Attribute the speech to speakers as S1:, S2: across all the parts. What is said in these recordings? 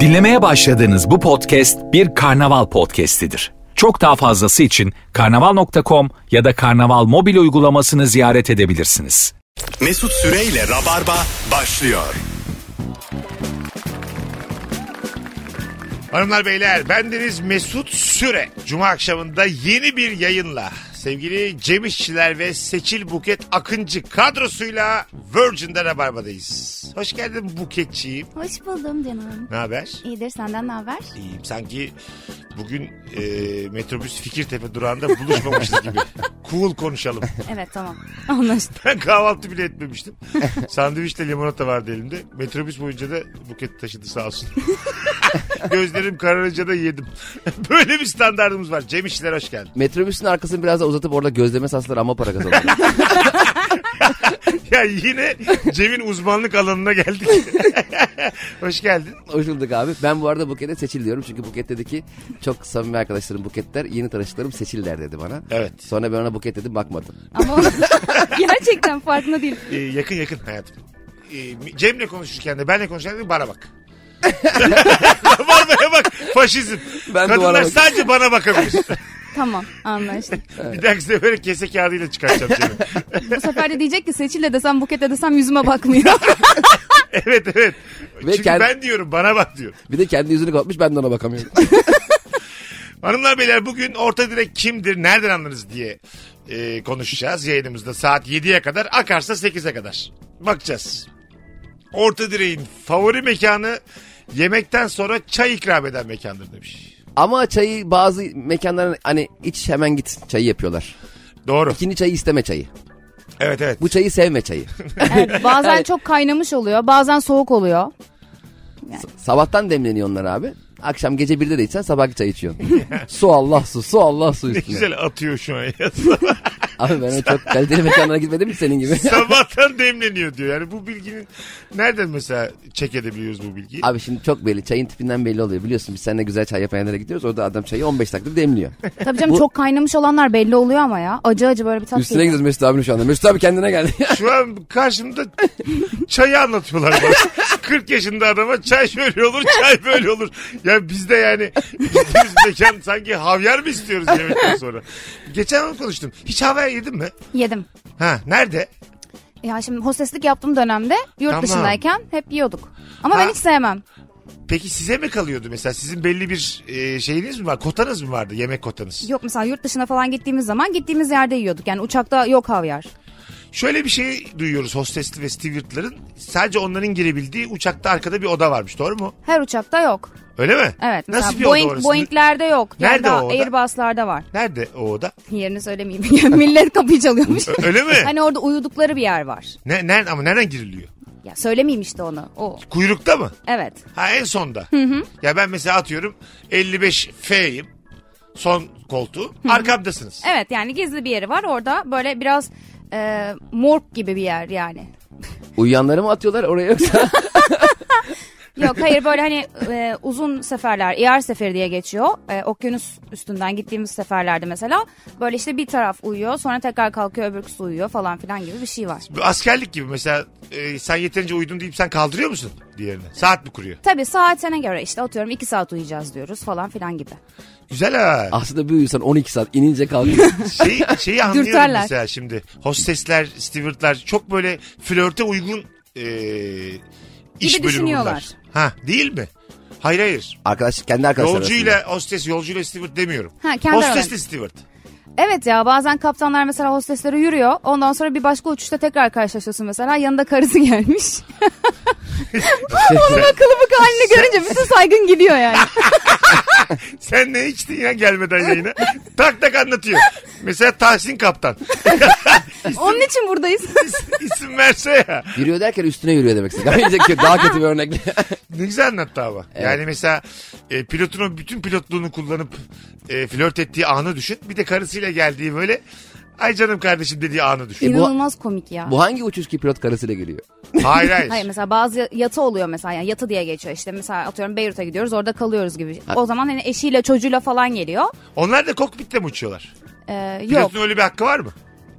S1: Dinlemeye başladığınız bu podcast bir karnaval podcastidir. Çok daha fazlası için karnaval.com ya da karnaval mobil uygulamasını ziyaret edebilirsiniz.
S2: Mesut Süreyle Rabarba başlıyor.
S3: Hanımlar beyler bendeniz Mesut Süre. Cuma akşamında yeni bir yayınla sevgili Cem İşçiler ve Seçil Buket Akıncı kadrosuyla Virgin'de Rabarba'dayız. Hoş geldin Buketçiğim.
S4: Hoş buldum canım.
S3: Ne haber?
S4: İyidir senden ne haber?
S3: İyiyim. Sanki bugün e, metrobüs Fikirtepe durağında buluşmamışız gibi. Cool konuşalım.
S4: Evet tamam. Anlaştık.
S3: Ben kahvaltı bile etmemiştim. Sandviçle limonata vardı elimde. Metrobüs boyunca da buket taşıdı sağ olsun. Gözlerim kararınca da yedim. Böyle bir standartımız var. Cem İşçiler hoş geldin.
S5: Metrobüsün arkasını biraz da uzatıp orada gözleme sasları ama para kazanıyor.
S3: Ya yine Cem'in uzmanlık alanına geldik. hoş geldin.
S5: Hoş bulduk abi. Ben bu arada Buket'e Seçil diyorum. Çünkü Buket dedi ki çok samimi arkadaşlarım Buketler. Yeni tanıştıklarım Seçil der dedi bana.
S3: Evet.
S5: Sonra ben ona Buket dedim bakmadım.
S4: Ama gerçekten farkında değil.
S3: Ee, yakın yakın hayatım. Ee, Cem'le konuşurken de benle konuşurken de bana bak. Bana bak faşizm.
S5: Ben
S3: Kadınlar
S5: duvara bak-
S3: sadece bana bakabilir.
S4: Tamam anlaştık.
S3: Bir dahaki sefere kese kağıdıyla çıkartacağım Cem'i.
S4: Bu sefer de diyecek ki Seçil'le desem Buket'e desem yüzüme bakmıyor.
S3: Evet evet.
S5: Ve
S3: Çünkü
S5: kend-
S3: ben diyorum bana bak diyorum.
S5: Bir de kendi yüzünü kapatmış ben de ona bakamıyorum.
S3: Hanımlar beyler bugün orta direk kimdir nereden anlarız diye e, konuşacağız yayınımızda saat 7'ye kadar akarsa 8'e kadar bakacağız. Orta direğin favori mekanı yemekten sonra çay ikram eden mekandır demiş.
S5: ama çayı bazı mekanların hani iç hemen git çayı yapıyorlar.
S3: Doğru.
S5: İkinci çayı isteme çayı.
S3: Evet evet.
S5: Bu çayı sevme çayı.
S4: Evet, bazen çok kaynamış oluyor bazen soğuk oluyor.
S5: Sabahtan demleniyor onlar abi. Akşam gece birde de içsen sabahki çay içiyorsun. su Allah su, su Allah su
S3: Ne
S5: üstüne.
S3: güzel atıyor şu an ya.
S5: Abi ben öyle çok kaliteli mekanlara gitmedim ki senin gibi.
S3: Sabahtan demleniyor diyor. Yani bu bilginin nereden mesela çek edebiliyoruz bu bilgiyi?
S5: Abi şimdi çok belli. Çayın tipinden belli oluyor. Biliyorsun biz seninle güzel çay yapan yerlere gidiyoruz. Orada adam çayı 15 dakikada demliyor.
S4: Tabii canım
S5: Bu-
S4: çok kaynamış olanlar belli oluyor ama ya. Acı acı böyle bir tat
S5: Üstüne
S4: geliyor.
S5: gidiyoruz Mesut abinin şu anda. Mesut abi kendine geldi.
S3: Şu an karşımda çayı anlatıyorlar bana. 40 yaşında adama çay şöyle olur, çay böyle olur. Ya biz de yani gittiğimiz mekan sanki havyar mı istiyoruz yemekten sonra? Geçen gün konuştum. Hiç havyar yedin mi?
S4: Yedim.
S3: Ha, nerede?
S4: Ya şimdi hosteslik yaptığım dönemde yurt
S3: Tamam.
S4: dışındayken hep yiyorduk. Ama ben
S3: Ha.
S4: hiç sevmem.
S3: Peki size mi kalıyordu mesela? Sizin belli bir e, şeyiniz mi var? Kotanız mı vardı? Yemek kotanız.
S4: Yok mesela yurt dışına falan gittiğimiz zaman gittiğimiz yerde yiyorduk. Yani uçakta yok havyar.
S3: Şöyle bir şey duyuyoruz hostesli ve stewardların. Sadece onların girebildiği uçakta arkada bir oda varmış. Doğru mu?
S4: Her uçakta yok.
S3: Öyle mi?
S4: Evet. Mesela
S3: Nasıl bir
S4: Boeing,
S3: oda orası?
S4: Boeing'lerde yok.
S3: Nerede
S4: Nerede
S3: o oda?
S4: Airbus'larda var.
S3: Nerede o oda?
S4: Yerini söylemeyeyim. Millet kapıyı çalıyormuş.
S3: Ö- Öyle mi?
S4: hani orada uyudukları bir yer var.
S3: Ne, nerede, ama nereden giriliyor?
S4: Ya söylemeyeyim işte onu. O.
S3: Kuyrukta mı?
S4: Evet.
S3: Ha en sonda. Ya ben mesela atıyorum 55 F'yim. Son koltuğu. Arkamdasınız.
S4: Evet yani gizli bir yeri var. Orada böyle biraz e, morg gibi bir yer yani.
S5: Uyuyanları mı atıyorlar oraya yoksa?
S4: Yok hayır böyle hani e, uzun seferler, ER seferi diye geçiyor. E, okyanus üstünden gittiğimiz seferlerde mesela böyle işte bir taraf uyuyor, sonra tekrar kalkıyor, öbürküsü uyuyor falan filan gibi bir şey var.
S3: Bu Askerlik gibi mesela e, sen yeterince uyudun deyip sen kaldırıyor musun diğerini? Saat mi kuruyor?
S4: Tabii saatine göre işte atıyorum iki saat uyuyacağız diyoruz falan filan gibi.
S3: Güzel ha.
S5: Aslında bir uyusan 12 saat inince kalkıyor.
S3: Şey, şeyi anlıyorum
S4: Dürterler.
S3: mesela şimdi. Hostesler, stewardlar çok böyle flörte uygun e, iş bölümü
S4: Gibi
S3: bunlar.
S4: düşünüyorlar.
S3: Ha değil mi? Hayır hayır.
S5: Arkadaş kendi arkadaşları arasında.
S3: Yolcuyla hostes, yolcuyla steward demiyorum.
S4: Ha, kendi
S3: Hostesle
S4: aralarında.
S3: steward.
S4: Evet ya bazen kaptanlar mesela hosteslere yürüyor. Ondan sonra bir başka uçuşta tekrar karşılaşıyorsun mesela. Yanında karısı gelmiş. Onun akıllı bık halini görünce bütün saygın gidiyor yani.
S3: Sen ne içtin ya gelmeden yayına? tak tak anlatıyor. Mesela Tahsin Kaptan.
S4: Onun için buradayız.
S3: İsim verse ya.
S5: Yürüyor derken üstüne yürüyor demek istedim. Daha, iyice- daha kötü bir örnekle.
S3: Ne güzel anlattı ama. Yani mesela e, pilotun o bütün pilotluğunu kullanıp e, flört ettiği anı düşün. Bir de karısıyla geldiği böyle ay canım kardeşim dediği anı düşün.
S4: İnanılmaz komik ya.
S5: Bu hangi uçuş ki pilot karısıyla geliyor?
S3: Hayır hayır.
S4: Hayır mesela bazı yatı oluyor mesela yani yatı diye geçiyor işte mesela atıyorum Beyrut'a gidiyoruz orada kalıyoruz gibi. O zaman hani eşiyle çocuğuyla falan geliyor.
S3: Onlar da kokpitte mi uçuyorlar?
S4: Ee, yok
S3: Pilotun öyle bir hakkı var mı?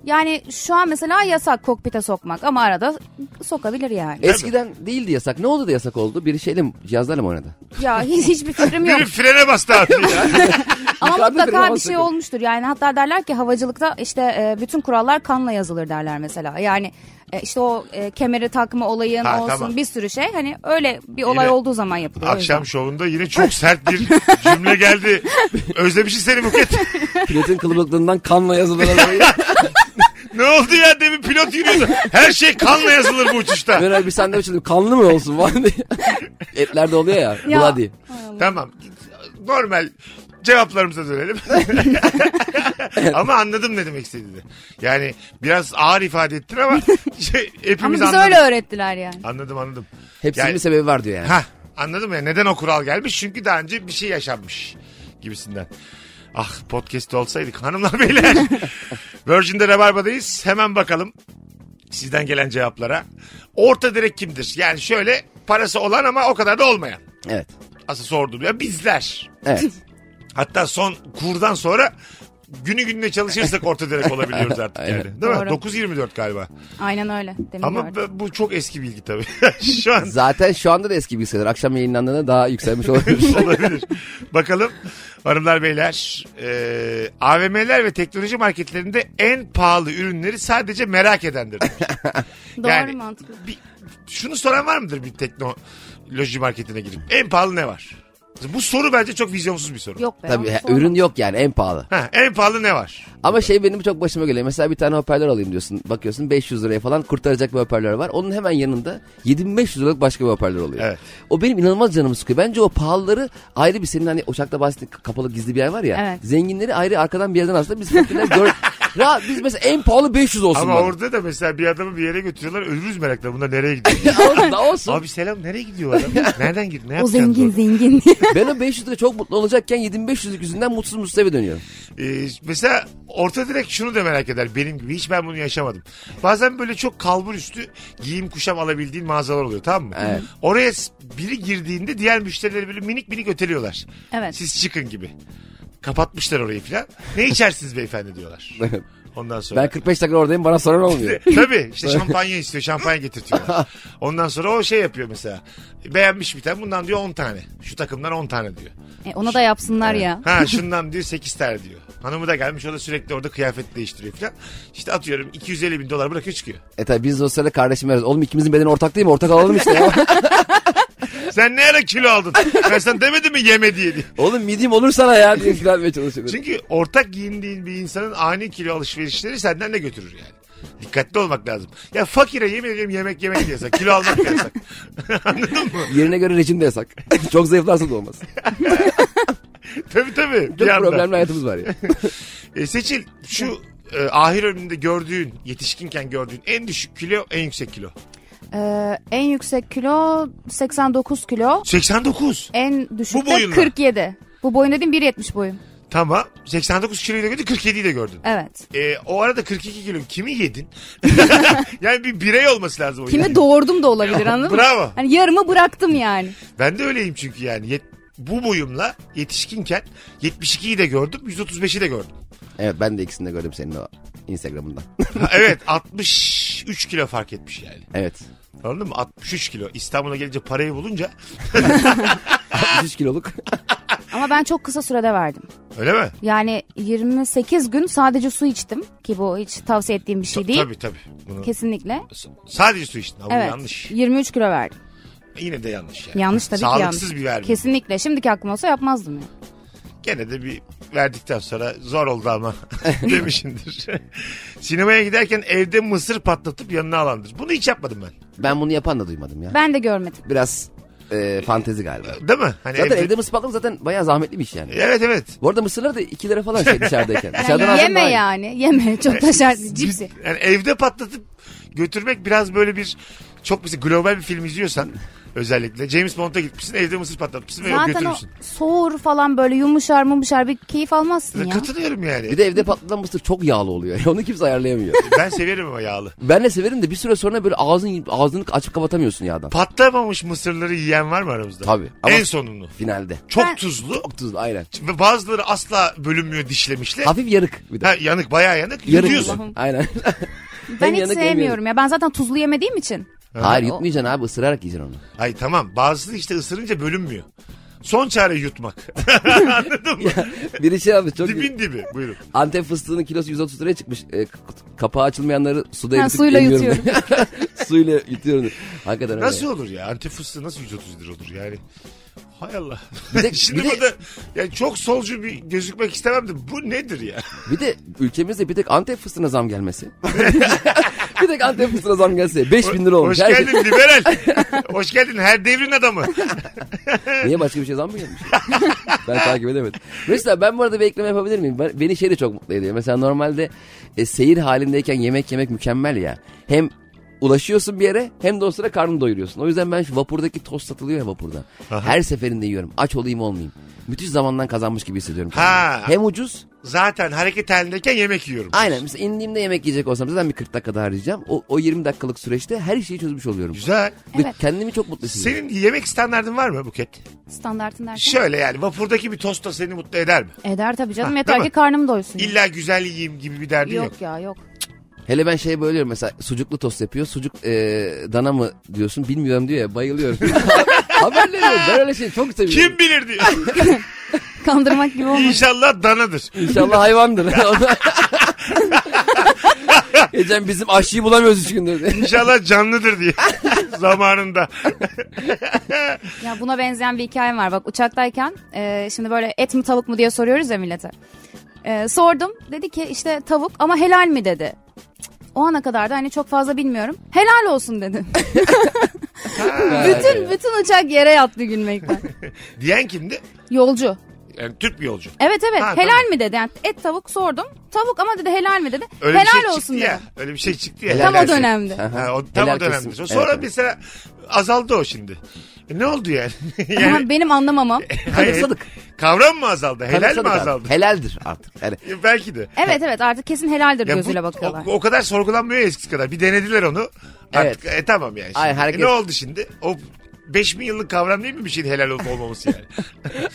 S4: Yani şu an mesela yasak kokpite sokmak ama arada sokabilir yani.
S5: E- Eskiden değildi yasak. Ne oldu da yasak oldu? Biri şeyle cihazlarla mı oynadı?
S4: ya hiç, hiçbir fikrim yok.
S3: Biri frene bastı abi ya.
S4: ama
S5: Yukarıda
S4: mutlaka
S5: duramaz
S4: bir şey
S5: sakın.
S4: olmuştur. Yani hatta derler ki havacılıkta işte e, bütün kurallar kanla yazılır derler mesela. Yani e, işte o e, kemeri takma olayın
S3: Ha,
S4: olsun
S3: tamam.
S4: bir sürü şey. Hani öyle bir olay
S3: Yine
S4: olduğu zaman yapılıyor. o yüzden.
S3: Akşam şovunda yine çok sert bir cümle geldi. Özlemişiz seni Buket.
S5: Pilotin kılıbıklarından kanla yazılan arabayı.
S3: Ne oldu ya demin pilot yürüyordu. Her şey kanla yazılır bu uçuşta.
S5: Meral bir sandviç alayım. Kanlı mı olsun falan diye. Etlerde oluyor ya.
S4: Ya.
S5: Bloody.
S3: tamam. Normal cevaplarımıza dönelim. ama anladım ne demek istediğini. Yani biraz ağır ifade ettin ama şey,
S4: Ama
S3: hepimiz
S4: bize
S3: anladık.
S4: öyle öğrettiler yani.
S3: Anladım anladım.
S5: Hepsinin
S3: Yani-
S5: bir sebebi var diyor yani.
S3: Hah anladım ya neden o kural gelmiş? Çünkü daha önce bir şey yaşanmış gibisinden. Ah podcast olsaydık hanımlar beyler. Virgin'de Rabarba'dayız. Hemen bakalım sizden gelen cevaplara. Orta direk kimdir? Yani şöyle parası olan ama o kadar da olmayan.
S5: Evet.
S3: Asıl sorduğum ya bizler.
S5: Evet.
S3: Hatta son kurdan sonra günü gününe çalışırsak orta direk olabiliyoruz artık yani. Değil mi?
S4: Doğru.
S3: 9.24 galiba.
S4: Aynen öyle. Demin
S3: Ama
S4: gördüm.
S3: bu çok eski bilgi tabii. Şu an
S5: Zaten şu anda da eski bilgisayarlar. Akşam yayınlandığında daha yükselmiş olabilir.
S3: olabilir. Bakalım hanımlar beyler e, eee, AVM'ler ve teknoloji marketlerinde en pahalı ürünleri sadece merak edendir.
S4: Doğru
S3: yani-
S4: mantıklı.
S3: bir, şunu soran var mıdır bir teknoloji marketine girip? En pahalı ne var? Bu soru bence çok vizyonsuz bir soru.
S4: Yok be.
S5: Tabii
S4: ama
S5: he-
S4: sorma.
S5: ürün yok yani en pahalı.
S3: Ha, en pahalı ne var?
S5: Ama şey benim çok başıma geliyor. Mesela bir tane hoparlör alayım diyorsun. Bakıyorsun 500 liraya falan kurtaracak bir hoparlör var. Onun hemen yanında 7500 liralık başka bir hoparlör oluyor.
S3: Evet.
S5: O benim inanılmaz canımı sıkıyor. Bence o pahalıları ayrı bir senin hani uçakta bahsettiğin kapalı gizli bir yer var ya.
S4: Evet.
S5: Zenginleri ayrı arkadan bir yerden aslında biz fakirler gör... Ra, biz mesela en pahalı 500 olsun.
S3: Ama
S5: bana.
S3: orada da mesela bir adamı bir yere götürüyorlar ölürüz merakla. Bunlar nereye gidiyor?
S5: Olsun da olsun.
S3: Abi selam nereye gidiyor adam? Nereden girdi? Ne
S4: O
S3: yapacaksın?
S4: zengin
S3: orada?
S4: zengin.
S5: Ben o 500 lira çok mutlu olacakken 7500'lük yüzünden mutsuz mutsuz eve dönüyorum.
S3: Ee, mesela orta direkt şunu da merak eder benim gibi. Hiç ben bunu yaşamadım. Bazen böyle çok kalbur üstü giyim kuşam alabildiğin mağazalar oluyor tamam mı?
S5: Evet.
S3: Oraya s- biri girdiğinde diğer müşterileri böyle minik minik öteliyorlar.
S4: Evet.
S3: Siz çıkın gibi. Kapatmışlar orayı falan. Ne içersiniz beyefendi diyorlar. Ondan sonra.
S5: Ben 45 dakika oradayım bana soran olmuyor.
S3: Tabii işte şampanya istiyor şampanya getirtiyorlar. Ondan sonra o şey yapıyor mesela. Beğenmiş bir tane bundan diyor 10 tane. Şu takımdan 10 tane diyor.
S4: E, ona da yapsınlar ya.
S3: Ha şundan diyor 8 tane diyor. Hanımı da gelmiş o da sürekli orada kıyafet değiştiriyor falan. İşte atıyorum 250 bin dolar bırakıyor çıkıyor.
S5: E tabi biz de o sırada kardeşim arıyoruz. Oğlum ikimizin bedeni ortak değil mi? Ortak alalım işte ya.
S3: Sen ne ara kilo aldın? ben sana demedim mi yeme diye diye.
S5: Oğlum midim olur sana ya diye ikna etmeye çalışıyorum.
S3: Çünkü ortak giyindiğin bir insanın ani kilo alışverişleri senden de götürür yani. Dikkatli olmak lazım. Ya fakire yemin ediyorum yemek yemek de yasak. Kilo almak da yasak. Anladın mı?
S5: Yerine göre rejim de yasak. Çok zayıflarsa da olmaz.
S3: Tabii tabii.
S5: Çok
S3: bir anda.
S5: problemli hayatımız var ya.
S3: E, Seçil şu e, ahir ömründe gördüğün, yetişkinken gördüğün en düşük kilo, en yüksek kilo.
S4: Ee, en yüksek kilo 89 kilo.
S3: 89.
S4: En düşük
S3: Bu
S4: de
S3: boyunla.
S4: 47. Bu boyun dediğim 1.70 boyum.
S3: Tamam. 89 kiloyu da gördün, 47'yi de gördün.
S4: Evet.
S3: E, o arada 42 kilo kimi yedin? yani bir birey olması lazım o yani.
S4: Kimi doğurdum da olabilir anladın mı?
S3: Bravo.
S4: Hani yarımı bıraktım yani.
S3: Ben de öyleyim çünkü yani. Yet- bu boyumla yetişkinken 72'yi de gördüm, 135'i de gördüm.
S5: Evet ben de ikisini de gördüm senin o Instagram'ında.
S3: Ha, evet 63 kilo fark etmiş yani.
S5: evet.
S3: Anladın mı? 63 kilo. İstanbul'a gelince parayı bulunca
S5: 3 kiloluk.
S4: Ama ben çok kısa sürede verdim.
S3: öyle mi?
S4: Yani 28 gün sadece su içtim ki bu hiç tavsiye ettiğim bir şey değil.
S3: Tabii tabii. Bunu-
S4: Kesinlikle.
S3: S- Sadece su içtin. Ha, bu
S4: Evet.
S3: yanlış.
S4: 23 kilo verdim.
S3: Yine de yanlış yani.
S4: Yanlış tabii ki yanlış.
S3: Sağlıksız bir verme.
S4: Kesinlikle. Şimdiki aklım olsa yapmazdım. Yani.
S3: Gene de bir verdikten sonra zor oldu ama demişindir. Sinemaya giderken evde mısır patlatıp yanına alandır. Bunu hiç yapmadım ben.
S5: Ben bunu yapan da duymadım ya.
S4: Ben de görmedim.
S5: Biraz e, fantezi galiba.
S3: Değil mi? Hani
S5: Zaten evde mısır patlamak zaten bayağı zahmetli bir iş yani.
S3: Evet evet.
S5: Bu arada mısırlar da 2 lira falan şey dışarıdayken. Dışarıdan
S4: Yani
S5: alsam
S4: yeme
S5: daha iyi.
S4: yani. Yeme. Çok da şart. Cipsi.
S3: Yani evde patlatıp götürmek biraz böyle bir çok mesela global bir film izliyorsan özellikle James Bond'a gitmişsin evde mısır patlatmışsın ve
S4: Zaten o
S3: götürürsün.
S4: soğur falan böyle yumuşar mumuşar bir keyif almazsın ya.
S3: Katılıyorum yani.
S5: Bir de evde patlatılan mısır çok yağlı oluyor. Onu kimse ayarlayamıyor.
S3: Ben severim ama yağlı.
S5: ben de severim de bir süre sonra böyle ağzın, ağzını açıp kapatamıyorsun yağdan.
S3: Patlamamış mısırları yiyen var mı aramızda?
S5: Tabii. Ama-
S3: En sonunu.
S5: Finalde.
S3: Çok
S4: Ben-
S3: tuzlu.
S5: Çok tuzlu aynen.
S3: Ve bazıları asla bölünmüyor dişlemişle.
S5: Hafif yarık bir de.
S3: Ha, yanık bayağı yanık.
S5: Yarık.
S3: Yutuyorsun.
S4: Allah'ım.
S5: Aynen.
S4: Ben
S5: Hem
S4: hiç
S5: yanık hem
S4: sevmiyorum ya. Ben zaten tuzlu yemediğim için.
S5: Hayır yutmayacaksın abi ısırarak yiyeceksin onu.
S3: Ay tamam bazısı işte ısırınca bölünmüyor. Son çare yutmak.
S5: Biri şey abi çok...
S3: Dibin dibi. Buyurun.
S5: Antep fıstığının kilosu 130 liraya çıkmış. E, k- kapağı açılmayanları suda
S4: Ha,
S5: eritip
S4: suyla
S5: yemiyorum. suyla yutuyorum. Hakikaten öyle.
S3: Nasıl olur ya? Antep fıstığı nasıl 130 lira olur yani? Hay Allah.
S5: Bir de-
S3: Şimdi
S5: bir de-
S3: burada yani çok solcu bir gözükmek istemem de bu nedir ya?
S5: Bir de ülkemizde bir tek Antep fıstığına zam gelmesi. bir tek Antep fıstığına zam gelse 5000 lira olmuş.
S3: Hoş
S5: Her şey-
S3: geldin liberal. Hoş geldin her devrin adamı.
S5: Niye başka bir şey zam mı gelmiş? ben takip edemedim. Mesela ben bu arada bir ekleme yapabilir miyim? Ben- beni şey de çok mutlu ediyor. Mesela normalde e, seyir halindeyken yemek yemek mükemmel ya. Hem ulaşıyorsun bir yere hem de o sıra karnını doyuruyorsun. O yüzden ben şu vapurdaki tost satılıyor ya vapurda. Her seferinde yiyorum. Aç olayım olmayayım. Müthiş zamandan kazanmış gibi hissediyorum.
S3: Ha.
S5: kendimi. Hem ucuz.
S3: Zaten hareket halindeyken yemek yiyorum.
S5: Aynen. Mesela indiğimde yemek yiyecek olsam zaten bir 40 dakika daha harcayacağım. O, o 20 dakikalık süreçte her şeyi çözmüş oluyorum.
S3: Güzel.
S5: Ve Kendimi çok mutlu hissediyorum.
S3: Senin yemek standardın var mı Buket?
S4: Standartın derken.
S3: Şöyle yani vapurdaki bir tosta seni mutlu eder mi?
S4: Eder tabii canım.
S3: Ha,
S4: Yeter
S3: değil
S4: ki
S3: mi?
S4: karnım doysun.
S3: İlla güzel yiyeyim gibi bir derdin yok.
S4: Yok ya yok.
S5: Hele ben şey böyle mesela sucuklu tost yapıyor. Sucuk e, dana mı diyorsun bilmiyorum diyor ya bayılıyorum. Haberleri yok. Ben öyle şey çok seviyorum.
S3: Kim bilir diyor.
S4: Kandırmak gibi olmaz.
S3: İnşallah danadır.
S5: İnşallah hayvandır. Geçen bizim aşçıyı bulamıyoruz üç gündür.
S3: İnşallah canlıdır diye. Zamanında.
S4: Ya buna benzeyen bir hikayem var. Bak uçaktayken e, şimdi böyle et mi tavuk mu diye soruyoruz ya millete. E, sordum. Dedi ki işte tavuk ama helal mi dedi. Cık, O ana kadar da hani çok fazla bilmiyorum. Helal olsun dedi. bütün bütün uçak yere yattı gülmekten.
S3: Diyen kimdi?
S4: Yolcu.
S3: Yani Türk bir yolcu.
S4: Evet evet
S3: Ha,
S4: helal
S3: tamam.
S4: mi dedi. Yani et tavuk sordum. Tavuk ama dedi helal mi dedi.
S3: Öyle
S4: helal
S3: bir şey
S4: olsun
S3: çıktı
S4: dedi.
S3: ya. Öyle bir şey çıktı ya.
S5: Helal
S4: Tam
S3: Helal
S4: o
S3: olsun.
S4: dönemde.
S3: Ha, o, tam o
S5: Helal
S3: dönemde.
S5: kesin.
S3: Sonra
S5: Evet.
S3: mesela azaldı o şimdi. E, ne oldu yani?
S4: Ama
S3: yani
S4: benim anlamamam.
S3: hayır,
S5: kanıksadık.
S3: Kavram mı azaldı? Helal mi
S5: Kanıksadık abi.
S3: azaldı?
S5: Helaldir artık. Yani
S3: E, Belki de.
S4: Evet evet artık kesin helaldir
S3: Ya bu-
S4: gözüyle bakıyorlar.
S3: O, o kadar sorgulanmıyor ya eskisi kadar. Bir denediler onu. Artık, e, tamam yani. şimdi.
S5: Ay, herkes-
S3: E, ne oldu şimdi? O 5000 yıllık kavram değil mi bir şeyin helal olup olmaması yani?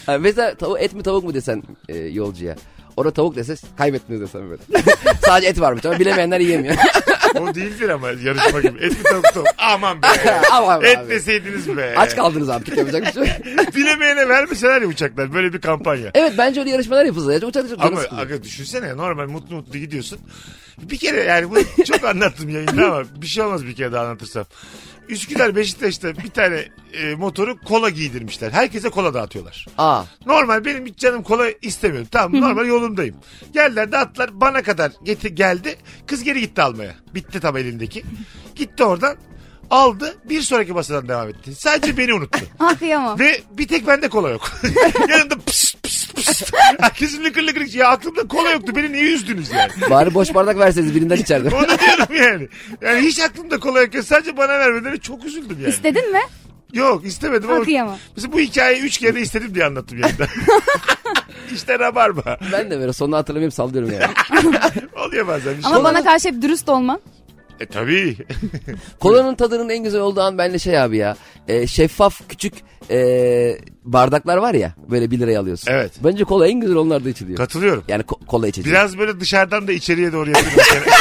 S5: Ha, mesela tavu- et mi tavuk mu desen e, yolcuya. Orada tavuk dese kaybettiniz desem böyle. Sadece et varmış ama bilemeyenler yiyemiyor.
S3: o değildir ama yarışma gibi. Et mi tavuk tavuk? Aman be.
S5: Aman be
S3: Et
S5: abi.
S3: deseydiniz be.
S5: Aç kaldınız artık yapacak bir şey yok.
S3: Bilemeyene vermeseler ya uçaklar. Böyle bir kampanya.
S5: Evet bence öyle yarışmalar yapılsa. ya. Uçak uçak
S3: Ama aga düşünsene normal mutlu mutlu gidiyorsun. Bir kere yani bunu çok anlattım yayında ama bir şey olmaz bir kere daha anlatırsam. Üsküdar Beşiktaş'ta bir tane e, motoru kola giydirmişler. Herkese kola dağıtıyorlar.
S5: Aa.
S3: Normal benim hiç canım kola istemiyorum. Tamam normal yolumdayım. Geldiler dağıttılar bana kadar getir, geldi. Kız geri gitti almaya. Bitti tam elindeki. Gitti oradan aldı bir sonraki masadan devam etti. Sadece beni unuttu.
S4: Ah kıyamam.
S3: Ve bir tek bende kola yok. Yanımda pıs pıs pıs. Herkesin lıkır lıkır içi. Ya aklımda kola yoktu. Beni niye üzdünüz yani?
S5: Bari boş bardak verseniz birinden içerdim.
S3: Onu diyorum yani. Yani hiç aklımda kola yok. Sadece bana vermediler. Çok üzüldüm yani.
S4: İstedin mi?
S3: yok istemedim ama.
S4: Ha, kıyamam.
S3: Mesela bu hikayeyi üç kere istedim diye anlattım yani. işte rabarba.
S5: ben de böyle sonunu hatırlamayıp sallıyorum yani.
S3: Oluyor bazen bir şey.
S4: Ama bana karşı hep dürüst olman.
S3: E tabii.
S5: Kolanın tadının en güzel olduğu an bende şey abi ya. e, şeffaf küçük e, bardaklar var ya. Böyle 1 liraya alıyorsun.
S3: Evet.
S5: Bence kola en güzel onlarda içiliyor.
S3: Katılıyorum.
S5: yani ko- kola içeceği.
S3: Biraz böyle dışarıdan da içeriye doğru yapıyorum.